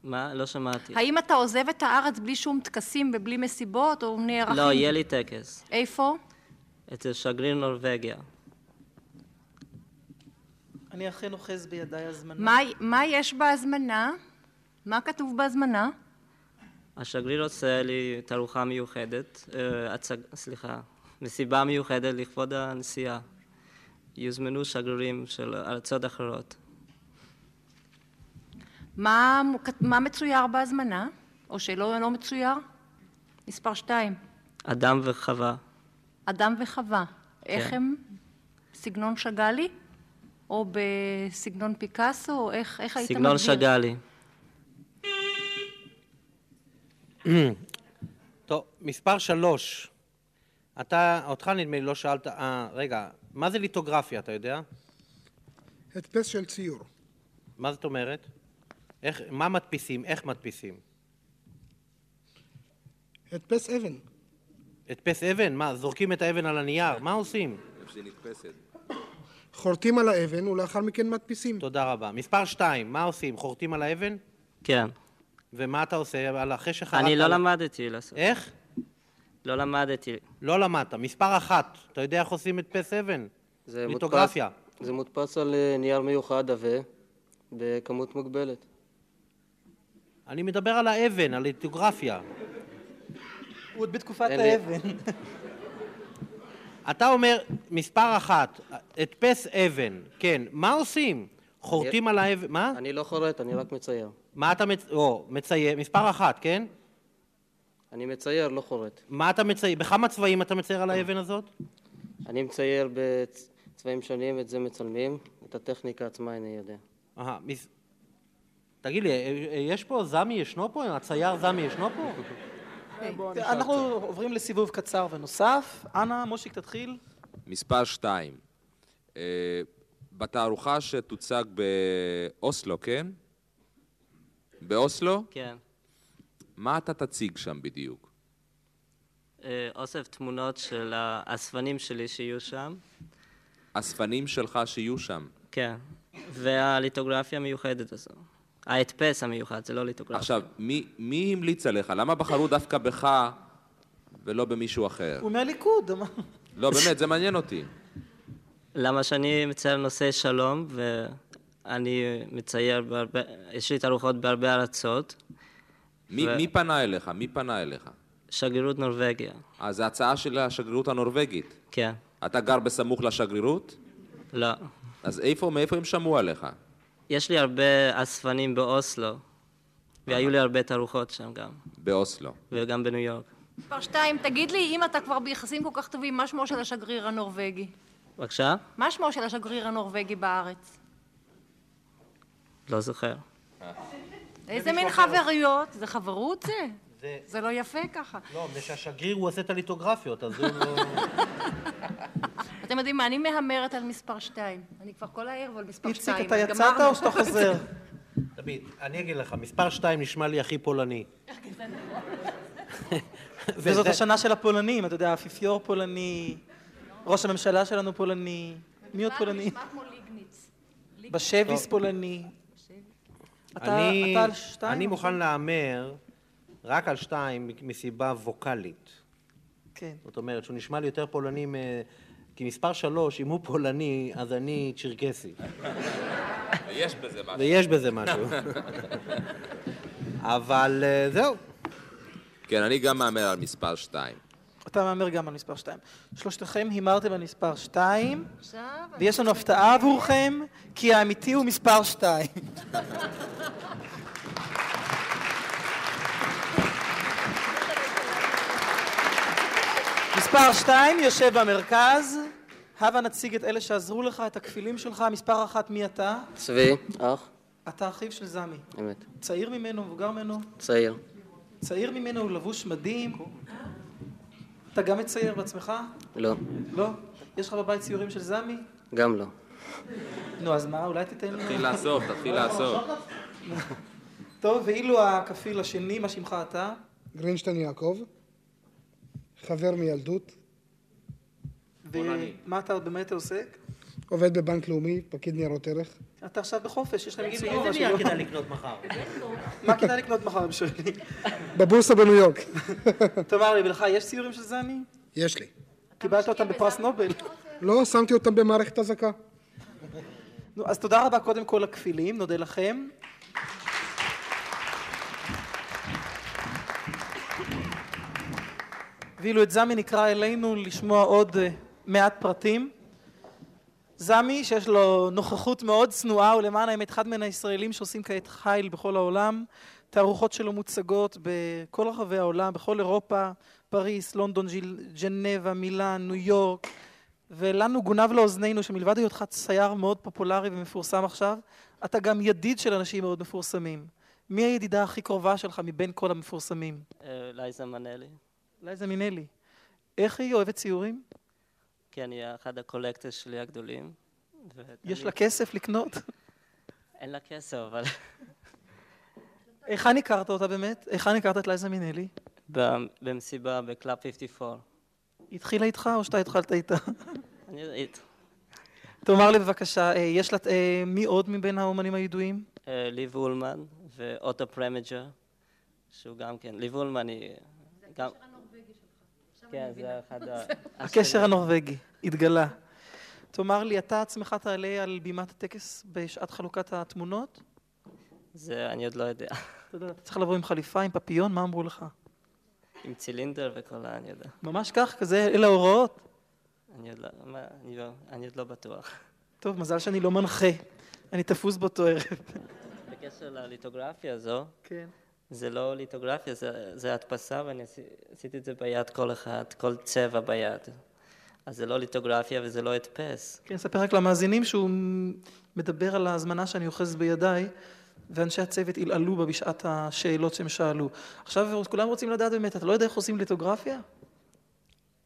Speaker 9: מה? לא שמעתי.
Speaker 6: האם אתה עוזב את הארץ בלי שום טקסים ובלי מסיבות, או נערכים?
Speaker 9: לא, יהיה לי טקס.
Speaker 6: איפה?
Speaker 9: אצל שגריר נורבגיה.
Speaker 1: אני אכן אוחז בידיי
Speaker 9: לא-
Speaker 1: הזמנה.
Speaker 6: מה, מה יש בהזמנה? מה כתוב בהזמנה?
Speaker 9: השגריר עושה לי תערוכה מיוחדת, אה, הצג... סליחה, מסיבה מיוחדת לכבוד הנסיעה. יוזמנו שגרירים של ארצות אחרות.
Speaker 6: מה, מו- כת- מה מצויר בהזמנה? או שלא לא מצויר? מספר שתיים,
Speaker 9: אדם וחווה.
Speaker 6: אדם וחווה. איך
Speaker 9: כן.
Speaker 6: הם? סגנון שאגאלי? או בסגנון פיקאסו? או איך, איך היית מגדיר?
Speaker 9: סגנון שאגאלי. כן,
Speaker 8: טוב, מספר שלוש. אתה, אותך נדמה לי לא שאלת, אה, רגע, מה זה ליטוגרפיה, אתה יודע?
Speaker 10: הדפס של ציור.
Speaker 8: מה זאת אומרת? איך, מה מדפיסים? איך מדפיסים?
Speaker 10: הדפס אבן.
Speaker 8: הדפס אבן? מה, זורקים את האבן על הנייר? מה עושים?
Speaker 2: איפה שהיא נתפסת.
Speaker 10: חורטים על האבן ולאחר מכן מדפיסים.
Speaker 8: תודה רבה. מספר שתיים, מה עושים? חורטים על האבן?
Speaker 9: כן.
Speaker 8: ומה אתה עושה על אחרי שחרטת?
Speaker 9: אני לא
Speaker 8: על-
Speaker 9: למדתי לעשות.
Speaker 8: איך?
Speaker 9: לא למדתי.
Speaker 8: לא למדת. מספר אחת, אתה יודע איך עושים הדפס אבן?
Speaker 9: זה מודפס-
Speaker 8: ליטוגרפיה.
Speaker 9: זה מודפס על אה, נייר מיוחד עבה, בכמות מוגבלת.
Speaker 8: אני מדבר על האבן, על ליטוגרפיה.
Speaker 1: הוא עוד בתקופת
Speaker 8: אין לי-
Speaker 1: האבן.
Speaker 8: אתה אומר, מספר אחת, הדפס אבן, כן, מה עושים? חורטים על האבן, מה?
Speaker 9: אני לא חורט, אני רק מצייר.
Speaker 8: מה אתה מצ... או, מצייר, מספר אחת, כן?
Speaker 9: אני מצייר, לא חורט.
Speaker 8: מה אתה מצייר, בכמה צבעים אתה מצייר על האבן הזאת?
Speaker 9: אני מצייר בצבעים שונים, את זה מצלמים. את הטכניקה עצמה אני יודע.
Speaker 8: אהה, מס... תגיד לי, אה, אה, יש פה, זמי ישנו פה? הצייר זמי ישנו פה? אה,
Speaker 1: אנחנו עוברים לסיבוב קצר ונוסף. אנא, מושיק, תתחיל.
Speaker 2: מספר 2, בתערוכה שתוצג באוסלו, כן? באוסלו?
Speaker 9: כן.
Speaker 2: מה אתה תציג שם בדיוק?
Speaker 9: אה, אוסף תמונות של האספנים שלי שיהיו שם.
Speaker 2: אספנים שלך שיהיו שם.
Speaker 9: כן. והליטוגרפיה המיוחדת הזו. ההדפס המיוחד, זה לא ליטוגרפיה.
Speaker 2: עכשיו, מי, מי המליץ עליך? למה בחרו דווקא בך ולא במישהו אחר?
Speaker 1: הוא מהליכוד. אמר.
Speaker 2: לא, באמת, זה מעניין אותי.
Speaker 9: למה שאני מצייר נושא שלום, ואני מצייר בהרבה, יש לי תערוכות בהרבה ארצות.
Speaker 2: מי, ו... מי פנה אליך? מי פנה אליך?
Speaker 9: שגרירות נורבגיה,
Speaker 2: אז זו הצעה של השגרירות הנורבגית.
Speaker 9: כן.
Speaker 2: אתה גר בסמוך לשגרירות?
Speaker 9: לא.
Speaker 2: אז איפה, מאיפה הם שמעו עליך?
Speaker 9: יש לי הרבה אספנים באוסלו, והיו לי הרבה תערוכות שם גם,
Speaker 2: באוסלו.
Speaker 9: וגם בניו יורק.
Speaker 6: מספר שתיים, תגיד לי, אם אתה כבר ביחסים כל כך טובים, מה שמו של השגריר הנורבגי?
Speaker 9: בבקשה?
Speaker 6: מה שמו של השגריר הנורבגי בארץ?
Speaker 9: לא זוכר.
Speaker 6: איזה מין חברויות? זה חברות זה? זה לא יפה ככה.
Speaker 8: לא, מפני שהשגריר הוא עושה את הליטוגרפיות, אז הוא לא...
Speaker 6: אתם יודעים מה, אני מהמרת על מספר שתיים. אני כבר כל הערב על מספר
Speaker 1: איציק,
Speaker 6: שתיים.
Speaker 1: אתה
Speaker 6: אז
Speaker 1: יצאת
Speaker 6: גמרנו.
Speaker 1: או שאתה חוזר?
Speaker 8: תמיד, אני אגיד לך, מספר שתיים נשמע לי הכי פולני.
Speaker 1: וזאת השנה של הפולנים, אתה יודע, האפיפיור פולני, ראש הממשלה שלנו פולני. מי עוד פולני?
Speaker 6: נשמע כמו ליגניץ.
Speaker 1: בשביס פולני. אתה
Speaker 8: אני-
Speaker 1: אתה על שתיים? נכון?
Speaker 8: אני
Speaker 1: או
Speaker 8: מוכן להמר רק על שתיים מסיבה ווקאלית.
Speaker 1: כן.
Speaker 8: זאת אומרת, שהוא נשמע לי יותר פולני מ... כי מספר שלוש, אם הוא פולני, אז אני צ'רקסי.
Speaker 2: ויש בזה משהו.
Speaker 8: ויש בזה משהו. אבל אה, זהו.
Speaker 2: כן, אני גם מהמר על מספר שתיים.
Speaker 1: אתה מהמר גם על מספר 2. שלושתכם הימרתם על מספר 2,
Speaker 6: עכשיו
Speaker 1: ויש לנו הפתעה עבורכם, כי האמיתי הוא מספר 2. מספר 2 יושב במרכז. הבה נציג את אלה שעזרו לך, את הכפילים שלך. מספר אחת, מי אתה?
Speaker 11: צבי, אח,
Speaker 1: אתה אחיו של זמי.
Speaker 11: אמת,
Speaker 1: צעיר ממנו, מבוגר ממנו?
Speaker 11: צעיר.
Speaker 1: צעיר ממנו, הוא לבוש מדהים. אתה גם מצייר בעצמך?
Speaker 11: לא,
Speaker 1: לא? יש לך בבית ציורים של זמי?
Speaker 11: גם לא.
Speaker 1: נו, אז מה, אולי תיתן לי...
Speaker 2: תתחיל לאסוף, תתחיל לאסוף.
Speaker 1: טוב, ואילו הכפיל השני, מה שמך אתה?
Speaker 10: גרינשטיין יעקב, חבר מילדות,
Speaker 1: ומה אתה, במה אתה עוסק?
Speaker 10: עובד בבנק לאומי, פקיד ניירות ערך.
Speaker 1: אתה עכשיו בחופש, יש לך נגיד...
Speaker 10: איזה
Speaker 1: משהו,
Speaker 10: נייר
Speaker 1: לא?
Speaker 10: כדאי
Speaker 8: לקנות מחר?
Speaker 1: מה כדאי לקנות מחר, הם שואלים.
Speaker 10: בבורסה בניו יורק.
Speaker 1: תאמר לי, ולך יש ציורים של זמי?
Speaker 10: יש לי.
Speaker 1: קיבלת אותם בפרס נובל.
Speaker 10: לא, שמתי אותם במערכת אזעקה.
Speaker 1: נו, אז תודה רבה קודם כל לכפילים, נודה לכם. ואילו את זמי נקרא אלינו לשמוע עוד אה, מעט פרטים. זמי, שיש לו נוכחות מאוד צנועה, הוא למען האמת אחד מן הישראלים שעושים כעת חיל בכל העולם. תערוכות שלו מוצגות בכל רחבי העולם, בכל אירופה, פריס, לונדון, ג'יל- ג'נבה, מילאן, ניו יורק. ולנו גונב לאוזנינו שמלבד היותך צייר מאוד פופולרי ומפורסם עכשיו, אתה גם ידיד של אנשים מאוד מפורסמים. מי הידידה הכי קרובה שלך מבין כל המפורסמים?
Speaker 9: אה, לייזה מנלי,
Speaker 1: לייזה מינלי. איך היא אוהבת ציורים?
Speaker 9: כן, היא אחד הקולקטור שלי הגדולים. ותמיד-
Speaker 1: יש לה כסף לקנות?
Speaker 9: אין לה כסף, אבל
Speaker 1: היכן הכרת אותה באמת? היכן הכרת את לייזה מינלי?
Speaker 9: ב- במסיבה בקלאב 54.
Speaker 1: היא התחילה איתך או שאתה התחלת איתה?
Speaker 9: אני יודעת.
Speaker 1: תאמר לי בבקשה, אה, יש לה... אה, מי עוד מבין האומנים הידועים?
Speaker 9: אה, ליב אולמן ואוטו פרמג'ר, שהוא גם כן, ליב אולמן היא... גם- כן, זה אחד ה...
Speaker 1: הקשר הנורבגי, התגלה. תאמר לי, אתה עצמך תעלה על בימת הטקס בשעת חלוקת התמונות?
Speaker 9: זה אני עוד לא יודע.
Speaker 1: אתה יודע, אתה צריך לבוא עם חליפה, עם פפיון, מה אמרו לך?
Speaker 9: עם צילינדר וכל ה... אני יודע.
Speaker 1: ממש כך, כזה, אלה ההוראות.
Speaker 9: אני עוד לא... מה- אני לא- אני עוד לא בטוח.
Speaker 1: טוב, מזל שאני לא מנחה. אני תפוס באותו ערב.
Speaker 9: בקשר לליטוגרפיה הזו,
Speaker 1: כן.
Speaker 9: זה לא ליטוגרפיה, זה, זה הדפסה, ואני עשי- עשיתי את זה ביד כל אחד, כל צבע ביד. אז זה לא ליטוגרפיה וזה לא הדפס.
Speaker 1: כן, ספר רק למאזינים שהוא מדבר על ההזמנה שאני אוחז בידיי, ואנשי הצוות עלעלו בה בשעת השאלות שהם שאלו. עכשיו כולם רוצים לדעת באמת, אתה לא יודע איך עושים ליטוגרפיה?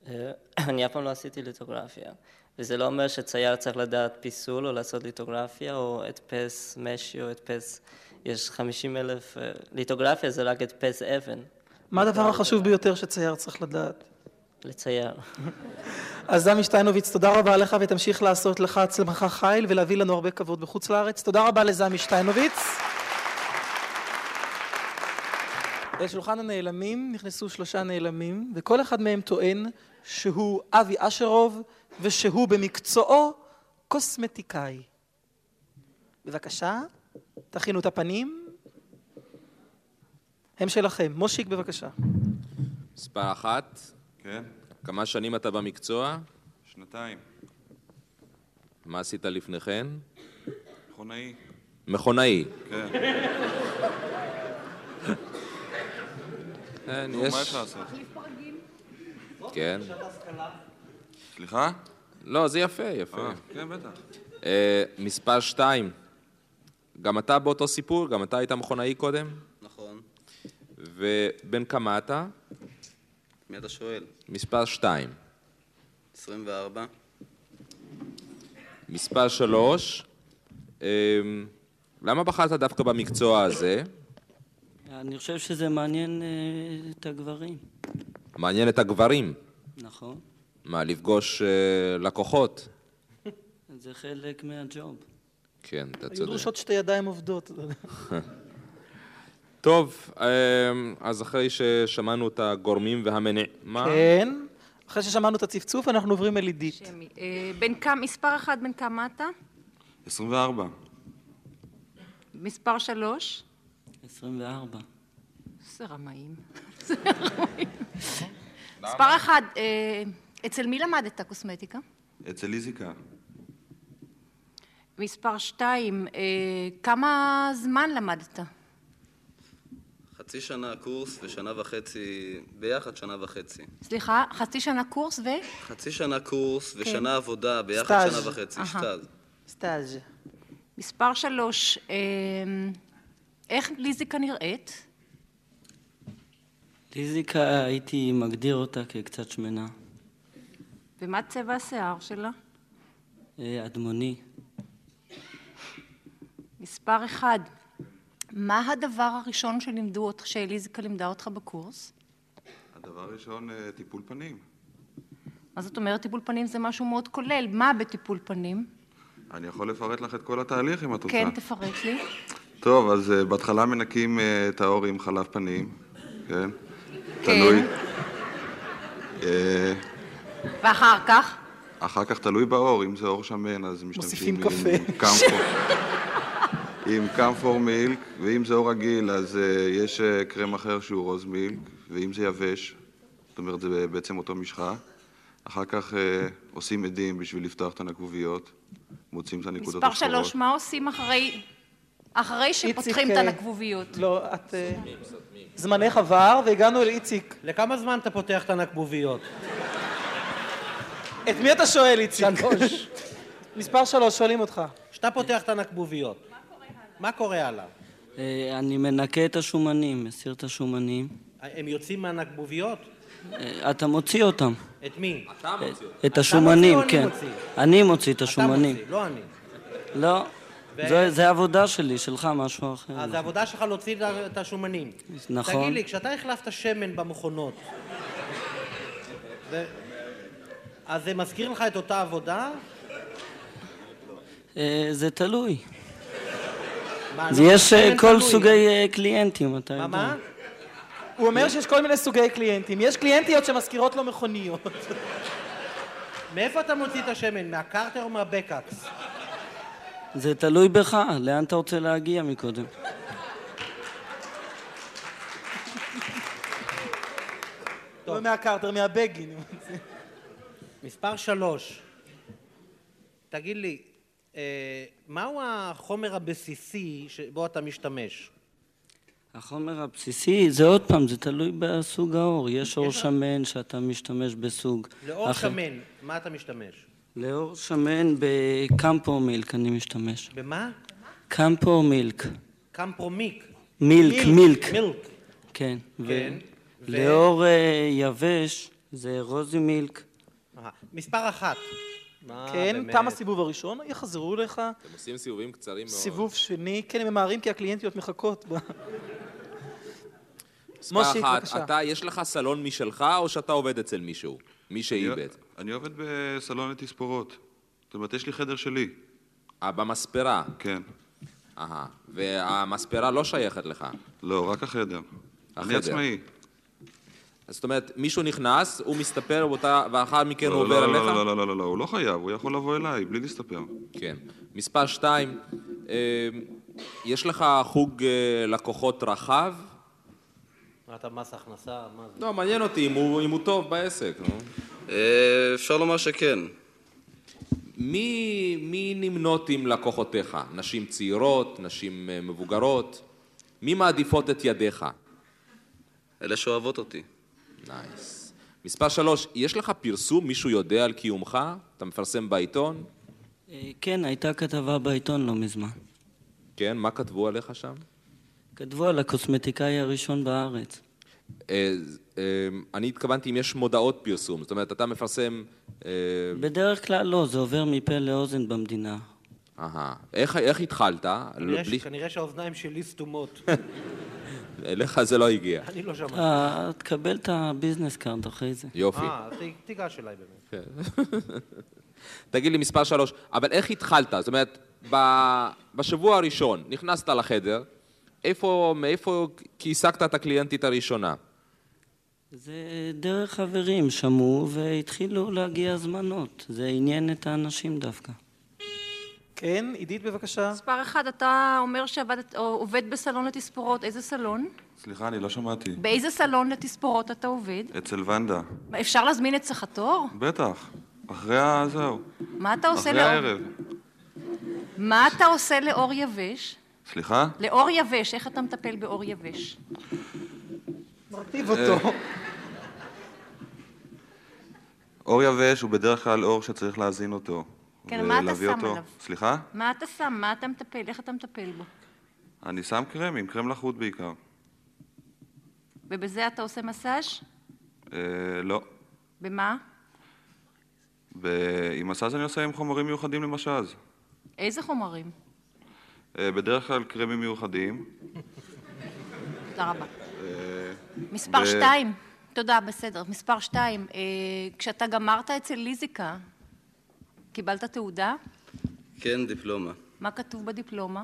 Speaker 9: אה, אני אף פעם לא עשיתי ליטוגרפיה. וזה לא אומר שצייר צריך לדעת פיסול או לעשות ליטוגרפיה או הדפס משי או הדפס... יש 50 אלף... אה, ליטוגרפיה זה רק הדפס אבן.
Speaker 1: מה הדבר החשוב ביותר שצייר צריך לדעת?
Speaker 9: לצייר.
Speaker 1: אז דמי שטיינוביץ, תודה רבה לך ותמשיך לעשות לך עצמך חיל ולהביא לנו הרבה כבוד בחוץ לארץ. תודה רבה לזמי שטיינוביץ. אל שולחן הנעלמים נכנסו שלושה נעלמים, וכל אחד מהם טוען שהוא אבי אשרוב ושהוא במקצועו קוסמטיקאי. בבקשה, תכינו את הפנים. הם שלכם. מושיק, בבקשה.
Speaker 2: מספר אחת,
Speaker 12: כן,
Speaker 2: כמה שנים אתה במקצוע?
Speaker 12: שנתיים.
Speaker 2: מה עשית לפני כן?
Speaker 12: מכונאי.
Speaker 2: מכונאי.
Speaker 12: כן.
Speaker 2: כן,
Speaker 12: נו,
Speaker 2: יש...
Speaker 12: מה אפשר לעשות?
Speaker 2: כן.
Speaker 12: סליחה?
Speaker 2: לא, זה יפה, יפה.
Speaker 12: אה, כן, בטח.
Speaker 2: אה, מספר שתיים, גם אתה באותו סיפור? גם אתה היית מכונאי קודם?
Speaker 11: נכון.
Speaker 2: ובן כמה אתה?
Speaker 11: מי אתה שואל?
Speaker 2: מספר שתיים.
Speaker 11: 24.
Speaker 2: מספר שלוש, אה, למה בחרת דווקא במקצוע הזה?
Speaker 13: אני חושב שזה מעניין אה, את הגברים,
Speaker 2: מעניין את הגברים.
Speaker 13: נכון?
Speaker 2: מה, לפגוש אה, לקוחות?
Speaker 13: זה חלק מהג'וב.
Speaker 2: כן, אתה
Speaker 1: היו
Speaker 2: צודק.
Speaker 1: דרושות שתי ידיים עובדות.
Speaker 2: טוב, אמ, אז אחרי ששמענו את הגורמים והמניע... מה?
Speaker 1: כן. אחרי ששמענו את הצפצוף, אנחנו עוברים אל עידית.
Speaker 6: אה, בן כמה, מספר אחד, בן כמה אתה?
Speaker 12: 24.
Speaker 6: מספר שלוש?
Speaker 13: 24.
Speaker 6: זה רמאים. זה רמאים. מספר אחד, אה, אצל מי למדת קוסמטיקה?
Speaker 12: אצל איזיקה.
Speaker 6: מספר שתיים, אה, כמה זמן למדת?
Speaker 11: חצי שנה קורס ושנה וחצי, ביחד שנה וחצי.
Speaker 6: סליחה, חצי שנה קורס ו...
Speaker 11: חצי שנה קורס
Speaker 6: כן.
Speaker 11: ושנה עבודה, ביחד
Speaker 1: סטאז'.
Speaker 11: שנה וחצי,
Speaker 6: אהה.
Speaker 11: שטאז.
Speaker 1: סטאז'.
Speaker 6: מספר שלוש, אה, איך ליזיקה נראית?
Speaker 13: פיזיקה, הייתי מגדיר אותה כקצת שמנה.
Speaker 6: ומה צבע השיער שלה?
Speaker 13: אה, אדמוני.
Speaker 6: מספר אחד, מה הדבר הראשון שלימדו אותך, שליזיקה לימדה אותך בקורס?
Speaker 12: הדבר הראשון, אה, טיפול פנים.
Speaker 6: מה זאת אומרת טיפול פנים זה משהו מאוד כולל, מה בטיפול פנים?
Speaker 12: אני יכול לפרט לך את כל התהליך אם את רוצה.
Speaker 6: כן, תפרט לי.
Speaker 12: טוב, אז אה, בהתחלה מנקים אה, את האור עם חלב פנים, כן? תלוי. אה,
Speaker 6: ואחר כך?
Speaker 12: אחר כך תלוי באור, אם זה אור שמן אז משתמשים
Speaker 1: מוסיפים קפה.
Speaker 12: עם קמפור. עם קמפור מילק, ואם זה אור רגיל אז אה, יש אה, קרם אחר שהוא רוז מילק, ואם זה יבש, זאת אומרת זה בעצם אותו משחה. אחר כך אה, עושים עדים בשביל לפתוח את הנקבוביות, מוצאים את הנקודות
Speaker 6: מספר
Speaker 12: השחורות.
Speaker 6: שלוש, מה עושים אחרי, אחרי שפותחים את
Speaker 1: איציק, אה,
Speaker 6: הנקבוביות?
Speaker 1: לא, את... אה, זמנך עבר והגענו אל איציק.
Speaker 8: לכמה זמן אתה פותח את הנקבוביות?
Speaker 1: את מי אתה שואל, איציק? שלוש. מספר שלוש, שואלים אותך.
Speaker 8: כשאתה פותח את הנקבוביות, מה קורה הלאה?
Speaker 13: אה, אני מנקה את השומנים, מסיר את השומנים.
Speaker 8: הם יוצאים מהנקבוביות?
Speaker 13: אה, אתה מוציא אותם.
Speaker 8: את מי? אתה מוציא
Speaker 13: את השומנים,
Speaker 8: מוציא
Speaker 13: כן.
Speaker 8: או אני מוציא?
Speaker 13: אני מוציא את
Speaker 8: אתה
Speaker 13: השומנים.
Speaker 8: מוציא, לא אני.
Speaker 13: לא.
Speaker 8: ו-
Speaker 13: זו- זה העבודה שלי, שלך משהו אחר.
Speaker 8: אז
Speaker 13: נכון.
Speaker 8: העבודה אה, שלך להוציא את- את השומנים.
Speaker 13: נכון.
Speaker 8: תגיד לי, כשאתה החלפת שמן במכונות, זה- אז זה מזכיר לך את אותה עבודה?
Speaker 13: אה, זה תלוי.
Speaker 8: מה,
Speaker 13: זה
Speaker 8: לא,
Speaker 13: יש אה,
Speaker 8: שמן
Speaker 13: כל
Speaker 8: תלוי.
Speaker 13: סוגי אה, קליינטים, אתה יודע.
Speaker 1: הוא אומר שיש כל מיני סוגי קליינטים. יש קליינטיות שמזכירות לו מכוניות.
Speaker 8: מאיפה אתה מוציא את השמן? מהקרטר כן, או מהבקאקס?
Speaker 13: זה תלוי בך, לאן אתה רוצה להגיע מקודם.
Speaker 1: לא מהקרטר, מהבגין.
Speaker 8: מספר שלוש. תגיד לי, אה, מהו החומר הבסיסי שבו אתה משתמש?
Speaker 13: החומר הבסיסי, זה עוד פעם, זה תלוי בסוג האור. יש אור שמן שאתה משתמש בסוג
Speaker 8: לאור
Speaker 13: אחר.
Speaker 8: שמן, מה אתה משתמש?
Speaker 13: לאור שמן בקמפו מילק אני משתמש.
Speaker 8: במה?
Speaker 13: קמפו מילק.
Speaker 8: קמפרומיק.
Speaker 13: מילק, מילק.
Speaker 8: מילק.
Speaker 13: כן. ו-
Speaker 8: כן, ו-
Speaker 13: לאור אה, יבש זה רוזי מילק.
Speaker 8: אה, מספר אחת.
Speaker 1: כן, תם הסיבוב הראשון, יחזרו לך.
Speaker 2: אתם עושים סיבובים קצרים מאוד.
Speaker 1: סיבוב שני, כן, הם ממהרים כי הקליינטיות מחכות. ב-
Speaker 2: מספר
Speaker 1: מושיק,
Speaker 2: אחת,
Speaker 1: בבקשה.
Speaker 2: אתה, יש לך סלון משלך, או שאתה עובד אצל מישהו? מישהי
Speaker 12: אני-
Speaker 2: בעצם.
Speaker 12: אני עובד בסלון לתספורות. זאת אומרת, יש לי חדר שלי.
Speaker 2: אה, במספרה.
Speaker 12: כן.
Speaker 2: אהה. והמספרה לא שייכת לך.
Speaker 12: לא, רק החדר. אני
Speaker 2: החדר.
Speaker 12: עצמאי.
Speaker 2: אז זאת אומרת, מישהו נכנס, הוא מסתפר באותה, ואחר מכן כן, הוא
Speaker 12: לא,
Speaker 2: עובר
Speaker 12: לא,
Speaker 2: אליך?
Speaker 12: לא, לא, לא, לא, לא, הוא לא חייב, הוא יכול לבוא אליי, בלי להסתפר.
Speaker 2: כן. מספר שתיים, אה, יש לך חוג אה, לקוחות רחב?
Speaker 8: מה אתה מס הכנסה? מה זה?
Speaker 2: לא, מעניין אותי אם הוא, אם הוא טוב בעסק. נו.
Speaker 11: אה, אפשר לומר שכן.
Speaker 2: מי, מי נמנות עם לקוחותיך? נשים צעירות, נשים אה, מבוגרות? מי מעדיפות את ידיך?
Speaker 11: אלה שאוהבות אותי.
Speaker 2: נייס. מספר שלוש, יש לך פרסום? מישהו יודע על קיומך? אתה מפרסם בעיתון?
Speaker 13: אה, כן, הייתה כתבה בעיתון לא מזמן.
Speaker 2: כן, מה כתבו עליך שם?
Speaker 13: כתבו על הקוסמטיקאי הראשון בארץ.
Speaker 2: אה, אה, אני התכוונתי אם יש מודעות פרסום, זאת אומרת, אתה מפרסם... אה,
Speaker 13: בדרך כלל לא, זה עובר מפה לאוזן במדינה.
Speaker 2: אהה. איך, איך התחלת? לא,
Speaker 8: כנראה ש-
Speaker 2: בלי...
Speaker 8: כנראה שהאוזניים שלי סתומות.
Speaker 2: אליך זה לא הגיע.
Speaker 8: אני לא שמעתי.
Speaker 13: אתה אה, תקבל את הביזנס קארד אחרי זה.
Speaker 2: יופי.
Speaker 8: אה, ת- תיגש אליי באמת.
Speaker 2: כן. תגיד לי מספר שלוש, אבל איך התחלת? זאת אומרת, ב- בשבוע הראשון נכנסת לחדר, איפה, מאיפה כיסקת את הקליינטית הראשונה?
Speaker 13: זה דרך חברים שמעו והתחילו להגיע הזמנות. זה עניין את האנשים דווקא.
Speaker 1: כן, עידית בבקשה.
Speaker 6: מספר אחד, אתה אומר שעבדת, או עובד בסלון לתספורות, איזה סלון?
Speaker 12: סליחה, אני לא שמעתי.
Speaker 6: באיזה סלון לתספורות אתה עובד?
Speaker 12: אצל ונדה.
Speaker 6: אפשר להזמין את סחטור?
Speaker 12: בטח. אחרי ה... זהו.
Speaker 6: מה אתה עושה
Speaker 12: אחרי הערב.
Speaker 6: מה אתה עושה לאור יבש?
Speaker 12: סליחה?
Speaker 6: לאור יבש, איך אתה מטפל באור יבש?
Speaker 1: מרטיב
Speaker 12: אותו. אור יבש הוא בדרך כלל אור שצריך להזין אותו.
Speaker 6: כן, מה אתה
Speaker 12: ולהביא
Speaker 6: שם
Speaker 12: אותו.
Speaker 6: עליו?
Speaker 12: סליחה?
Speaker 6: מה אתה שם? מה אתה מטפל? איך אתה מטפל בו?
Speaker 12: אני שם קרם, עם קרם לחוט בעיקר.
Speaker 6: ובזה אתה עושה מסאז'?
Speaker 12: אה, לא.
Speaker 6: במה?
Speaker 12: ב- עם מסאז אני עושה עם חומרים מיוחדים למשאז.
Speaker 6: איזה חומרים?
Speaker 12: אה, בדרך כלל קרמים מיוחדים.
Speaker 6: תודה רבה.
Speaker 12: אה,
Speaker 6: מספר
Speaker 12: ו-
Speaker 6: שתיים. תודה, בסדר. מספר שתיים, אה, כשאתה גמרת אצל ליזיקה, קיבלת תעודה?
Speaker 11: כן, דיפלומה.
Speaker 6: מה כתוב בדיפלומה?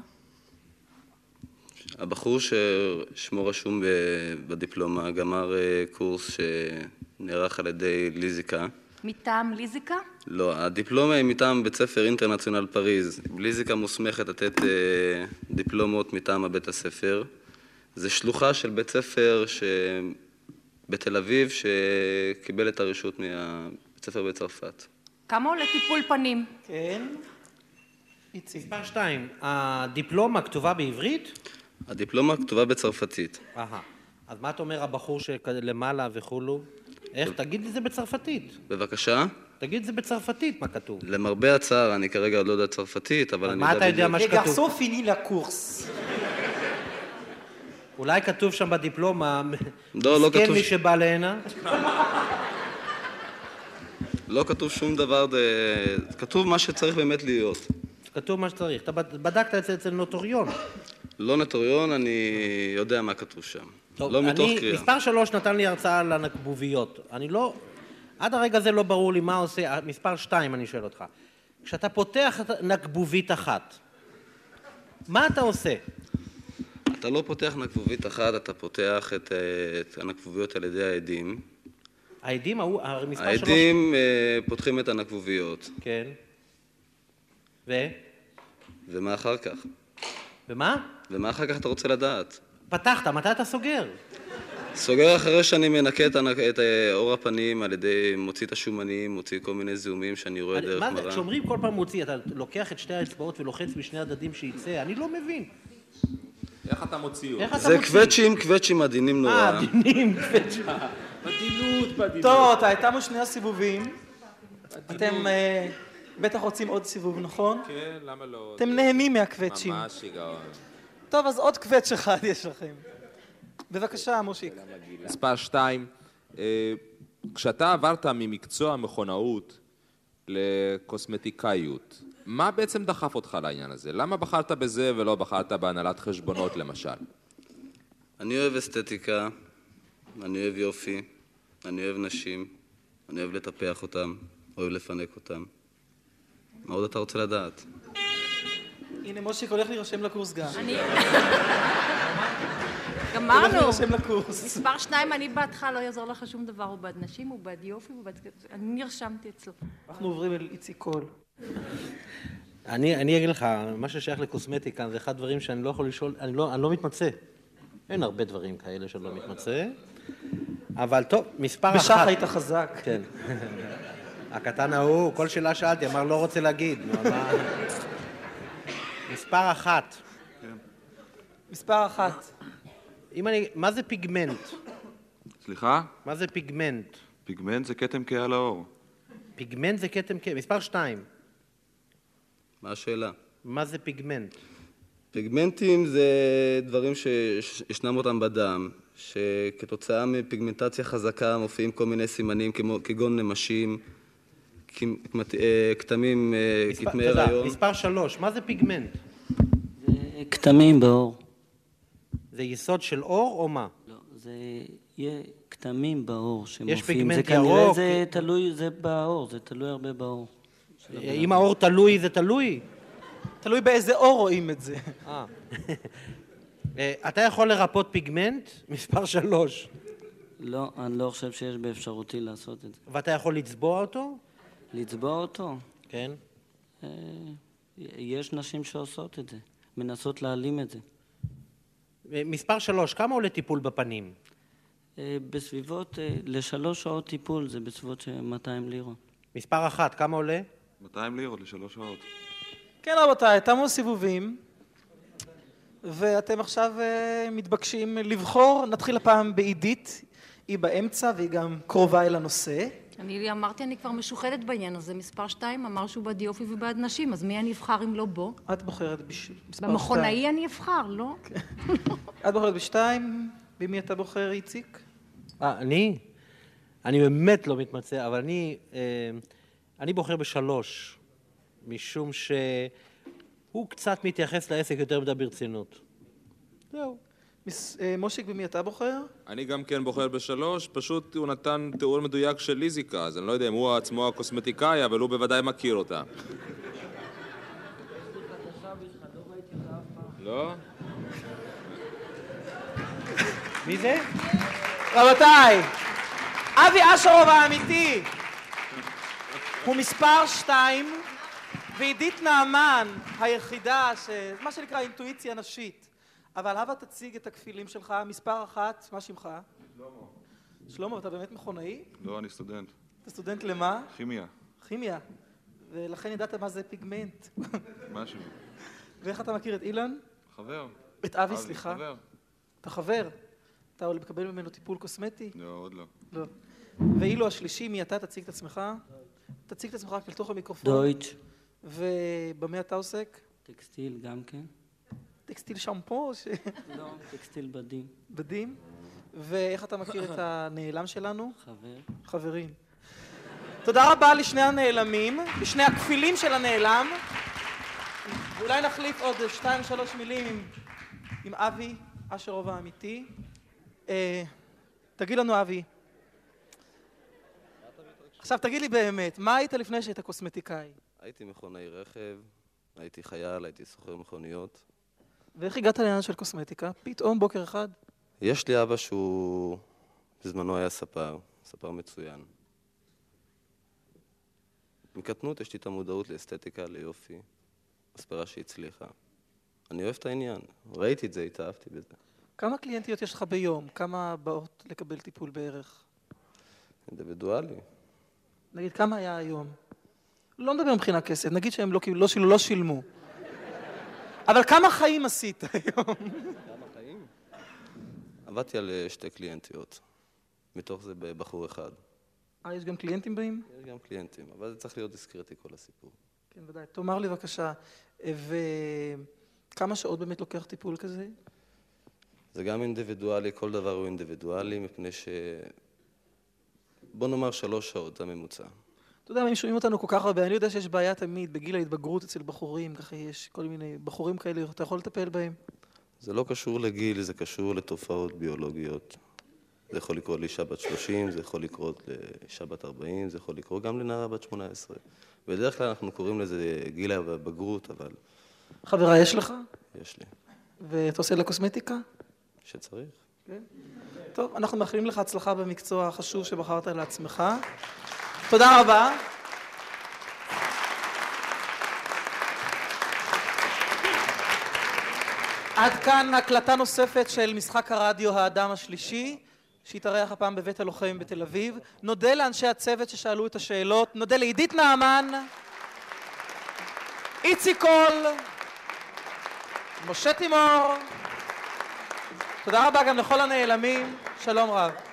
Speaker 11: הבחור ששמו רשום ב- בדיפלומה גמר אה, קורס שנערך על ידי ליזיקה.
Speaker 6: מטעם ליזיקה?
Speaker 11: לא, הדיפלומה היא מטעם בית ספר אינטרנציונל פריז. ליזיקה מוסמכת לתת אה, דיפלומות מטעם הבית הספר. זה שלוחה של בית ספר ש... בתל אביב, שקיבל את הרשות מהבית ספר בצרפת.
Speaker 6: כמה עולה טיפול פנים?
Speaker 1: כן.
Speaker 8: מספר שתיים, הדיפלומה כתובה בעברית?
Speaker 11: הדיפלומה כתובה בצרפתית.
Speaker 8: אהה. אז מה אתה אומר הבחור שלמעלה וכולו? איך? תגיד את זה בצרפתית.
Speaker 11: בבקשה?
Speaker 8: תגיד את זה בצרפתית, מה כתוב.
Speaker 11: למרבה הצער, אני כרגע עוד לא יודע צרפתית, אבל אני
Speaker 8: מה אתה יודע מה
Speaker 11: בדיוק.
Speaker 8: שכתוב?
Speaker 1: גרסון פיני לקורס.
Speaker 8: אולי כתוב שם בדיפלומה,
Speaker 11: לא, לא
Speaker 8: מסכן
Speaker 11: כתוב
Speaker 8: מי
Speaker 11: ש-
Speaker 8: שבא להנה?
Speaker 11: לא כתוב שום דבר, ד- כתוב מה שצריך באמת להיות.
Speaker 8: כתוב מה שצריך. אתה בד- בדקת את זה אצל נוטוריון.
Speaker 11: לא נוטריון, אני יודע מה כתוב שם. לא
Speaker 8: אני-
Speaker 11: מתוך קריאה.
Speaker 8: מספר שלוש נתן לי הרצאה על הנקבוביות. אני לא... עד הרגע הזה לא ברור לי מה עושה... מספר שתיים, אני שואל אותך. כשאתה פותח את- נקבובית אחת, מה אתה עושה?
Speaker 11: אתה לא פותח נקבובית אחת, אתה פותח את, אה, את הנקבוביות על ידי העדים.
Speaker 8: העדים ההוא, הרי מספר שלוש...
Speaker 11: העדים אה, פותחים את הנקבוביות.
Speaker 8: כן. ו?
Speaker 11: ומה אחר כך?
Speaker 8: ומה?
Speaker 11: ומה אחר כך אתה רוצה לדעת?
Speaker 8: פתחת, מתי אתה סוגר?
Speaker 11: סוגר אחרי שאני מנקה את, הנק... את אה, עור הפנים על ידי מוציא את השומנים, מוציא כל מיני זיהומים שאני רואה
Speaker 8: אני-
Speaker 11: דרך
Speaker 8: מה זה,
Speaker 11: מראה.
Speaker 8: כשאומרים כל פעם מוציא, אתה לוקח את שתי האצבעות ולוחץ משני הצדדים שיצא, אני לא מבין.
Speaker 2: איך אתה מוציא
Speaker 8: איך אתה
Speaker 11: זה
Speaker 8: מוציא? אה,
Speaker 11: קווצ'ים, קווצ'ים עדינים נורא.
Speaker 8: עדינים,
Speaker 1: בדינות, בדינות. אה, טוב, אתה הייתנו שני הסיבובים. אתם אה, בטח רוצים עוד סיבוב, נכון?
Speaker 2: כן, למה לא?
Speaker 1: אתם נהנים מהקווצ'ים.
Speaker 2: ממש שיגעון.
Speaker 1: טוב, אז עוד קווץ' אחד יש לכם. בבקשה, מושיק.
Speaker 2: מספר שתיים, אה, כשאתה עברת ממקצוע המכונאות לקוסמטיקאיות, מה בעצם דחף אותך לעניין הזה? למה בחרת בזה ולא בחרת בהנהלת חשבונות למשל?
Speaker 11: אני אוהב אסתטיקה, אני אוהב יופי, אני אוהב נשים, אני אוהב לטפח אותם, אוהב לפנק אותם. מה עוד אתה רוצה לדעת?
Speaker 1: הנה, מושיק הולך להירשם לקורס גם.
Speaker 6: אני...
Speaker 1: הוא הולך
Speaker 6: גמרנו.
Speaker 1: להירשם לקורס.
Speaker 6: מספר שניים, אני בעדך, לא יעזור לך שום דבר, הוא בעד נשים, הוא בעד יופי, הוא בעד... אני נרשמתי אצלו.
Speaker 1: אנחנו עוברים אל איציק קול.
Speaker 8: אני, אני אגיד לך, מה ששייך לקוסמטיקה זה אחד הדברים שאני לא יכול לשאול, אני לא, אני לא מתמצא. אין הרבה דברים כאלה שאני לא מתמצא, אבל טוב, מספר אחת.
Speaker 1: בשח היית חזק.
Speaker 8: כן. הקטן ההוא, כל שאלה שאלתי, אמר לא רוצה להגיד. נו, אמר- מספר אחת.
Speaker 1: מספר אחת.
Speaker 8: אם אני, מה זה פיגמנט?
Speaker 12: סליחה?
Speaker 8: מה זה פיגמנט?
Speaker 12: פיגמנט זה כתם כהה על האור.
Speaker 8: פיגמנט זה כתם כ... מספר שתיים.
Speaker 11: מה השאלה?
Speaker 8: מה זה פיגמנט?
Speaker 11: פיגמנטים זה דברים שישנם אותם בדם, שכתוצאה מפיגמנטציה חזקה מופיעים כל מיני סימנים כמו, כגון נמשים, כמת- אה, כתמים, אה,
Speaker 8: מספר-
Speaker 11: כתמי
Speaker 8: תודה.
Speaker 11: הריון.
Speaker 8: מספר שלוש, מה זה פיגמנט?
Speaker 13: כתמים באור.
Speaker 8: זה יסוד של אור או מה?
Speaker 13: לא, זה יהיה כתמים באור שמופיעים.
Speaker 8: פיגמנט
Speaker 13: זה כנראה
Speaker 8: ירוק.
Speaker 13: זה
Speaker 8: אה,
Speaker 13: תלוי, זה באור, זה תלוי הרבה באור.
Speaker 8: אם האור תלוי, זה תלוי?
Speaker 1: תלוי באיזה אור רואים את זה.
Speaker 8: אה. אה, אתה יכול לרפות פיגמנט, מספר שלוש.
Speaker 13: לא, אני לא חושב שיש באפשרותי לעשות את זה.
Speaker 8: ואתה יכול לצבוע אותו?
Speaker 13: לצבוע אותו? אה,
Speaker 8: כן.
Speaker 13: יש נשים שעושות את זה, מנסות להעלים את זה.
Speaker 8: אה, מספר שלוש, כמה עולה טיפול בפנים?
Speaker 13: אה, בסביבות, אה, לשלוש שעות טיפול זה בסביבות של 200 לירות.
Speaker 8: מספר אחת, כמה עולה?
Speaker 12: 200 לירות לשלוש שעות.
Speaker 1: כן, רבותיי, תמו סיבובים, ואתם עכשיו אה, מתבקשים לבחור. נתחיל הפעם בעידית, היא באמצע והיא גם קרובה אל הנושא.
Speaker 6: אני אמרתי, אני כבר משוחדת בעניין הזה. מספר שתיים אמר שהוא בעד יופי ובעד נשים, אז מי אני אבחר אם לא בו?
Speaker 1: את בוחרת בשביל מספר שתיים.
Speaker 6: במכונאי אני אבחר, לא?
Speaker 1: את בוחרת בשתיים, במי אתה בוחר, איציק?
Speaker 8: אה, אני? אני באמת לא מתמצא, אבל אני, אה, אני בוחר בשלוש, משום שהוא קצת מתייחס לעסק יותר מדי ברצינות. זהו.
Speaker 1: מס- אה, מושיק, במי אתה בוחר?
Speaker 2: אני גם כן בוחר בשלוש, פשוט הוא נתן תיאור מדויק של ליזיקה, אז אני לא יודע אם הוא עצמו הקוסמטיקאי, אבל הוא בוודאי מכיר אותה. לא?
Speaker 8: מי זה?
Speaker 1: רבותיי, אבי אשרוב האמיתי הוא מספר שתיים, ועידית נעמן היחידה, ש... מה שנקרא אינטואיציה נשית. אבל הבה תציג את הכפילים שלך, מספר אחת, מה שמך?
Speaker 12: שלמה.
Speaker 1: שלמה, אתה באמת מכונאי?
Speaker 12: לא, אני סטודנט.
Speaker 1: אתה סטודנט למה?
Speaker 12: כימיה,
Speaker 1: כימיה. ולכן ידעת מה זה פיגמנט.
Speaker 12: משהו.
Speaker 1: ואיך אתה מכיר את אילן?
Speaker 12: חבר.
Speaker 1: את אבי,
Speaker 12: אבי,
Speaker 1: סליחה.
Speaker 12: חבר.
Speaker 1: אתה חבר? אתה עוד מקבל ממנו טיפול קוסמטי?
Speaker 12: לא, עוד לא.
Speaker 1: לא. ואילו השלישי, מי אתה? תציג את עצמך. תציג את עצמך רק לתוך המיקרופון.
Speaker 13: דויטש.
Speaker 1: ובמה אתה עוסק?
Speaker 13: טקסטיל גם כן.
Speaker 1: טקסטיל שמפו? ש...
Speaker 13: לא, טקסטיל בדים.
Speaker 1: בדים? ואיך אתה מכיר את הנעלם שלנו?
Speaker 13: חבר.
Speaker 1: חברים. תודה רבה לשני הנעלמים, לשני הכפילים של הנעלם. ואולי נחליף עוד שתיים, שלוש מילים עם, עם אבי, אשרוב האמיתי. אה, תגיד לנו, אבי. עכשיו תגיד לי באמת, מה היית לפני שהיית קוסמטיקאי?
Speaker 11: הייתי מכונאי רכב, הייתי חייל, הייתי סוחר מכוניות.
Speaker 1: ואיך הגעת לעניין של קוסמטיקה? פתאום בוקר אחד?
Speaker 11: יש לי אבא שהוא בזמנו היה ספר, ספר מצוין. מקטנות יש לי את המודעות לאסתטיקה, ליופי, מספרה שהצליחה. אני אוהב את העניין, ראיתי את זה, התאהבתי בזה.
Speaker 1: כמה קליינטיות יש לך ביום? כמה באות לקבל טיפול בערך?
Speaker 11: אינדיבידואלי.
Speaker 1: נגיד, כמה היה היום? לא מדבר מבחינה כסף, נגיד שהם לא, קיבלו- לא, שילמו, לא שילמו. אבל כמה חיים עשית היום?
Speaker 11: כמה חיים? עבדתי על אה, שתי קליינטיות, מתוך זה בחור אחד.
Speaker 1: אה, יש גם קליינטים באים?
Speaker 11: יש גם קליינטים, אבל זה צריך להיות דיסקרטי כל הסיפור.
Speaker 1: כן, ודאי. תאמר לי בבקשה, אה, וכמה שעות באמת לוקח טיפול כזה?
Speaker 11: זה גם אינדיבידואלי, כל דבר הוא אינדיבידואלי, מפני ש... בוא נאמר שלוש שעות, זה הממוצע.
Speaker 1: אתה יודע, הם שומעים אותנו כל כך הרבה, אני יודע שיש בעיה תמיד בגיל ההתבגרות אצל בחורים, ככה יש כל מיני בחורים כאלה, אתה יכול לטפל בהם.
Speaker 11: זה לא קשור לגיל, זה קשור לתופעות ביולוגיות. זה יכול לקרות לאישה בת 30, זה יכול לקרות לאישה בת 40, זה יכול לקרות גם לנערה בת 18. בדרך כלל אנחנו קוראים לזה גיל הבגרות, אבל
Speaker 1: חברה יש לך?
Speaker 11: יש לי,
Speaker 1: ואתה עושה לה קוסמטיקה?
Speaker 11: שצריך.
Speaker 1: טוב, אנחנו מאחלים לך הצלחה במקצוע החשוב שבחרת לעצמך. תודה רבה. עד כאן הקלטה נוספת של משחק הרדיו האדם השלישי, שהתארח הפעם בבית הלוחם בתל אביב. נודה לאנשי הצוות ששאלו את השאלות, נודה לעידית נעמן, איציק קול, משה תימור. תודה רבה גם לכל הנעלמים, שלום רב.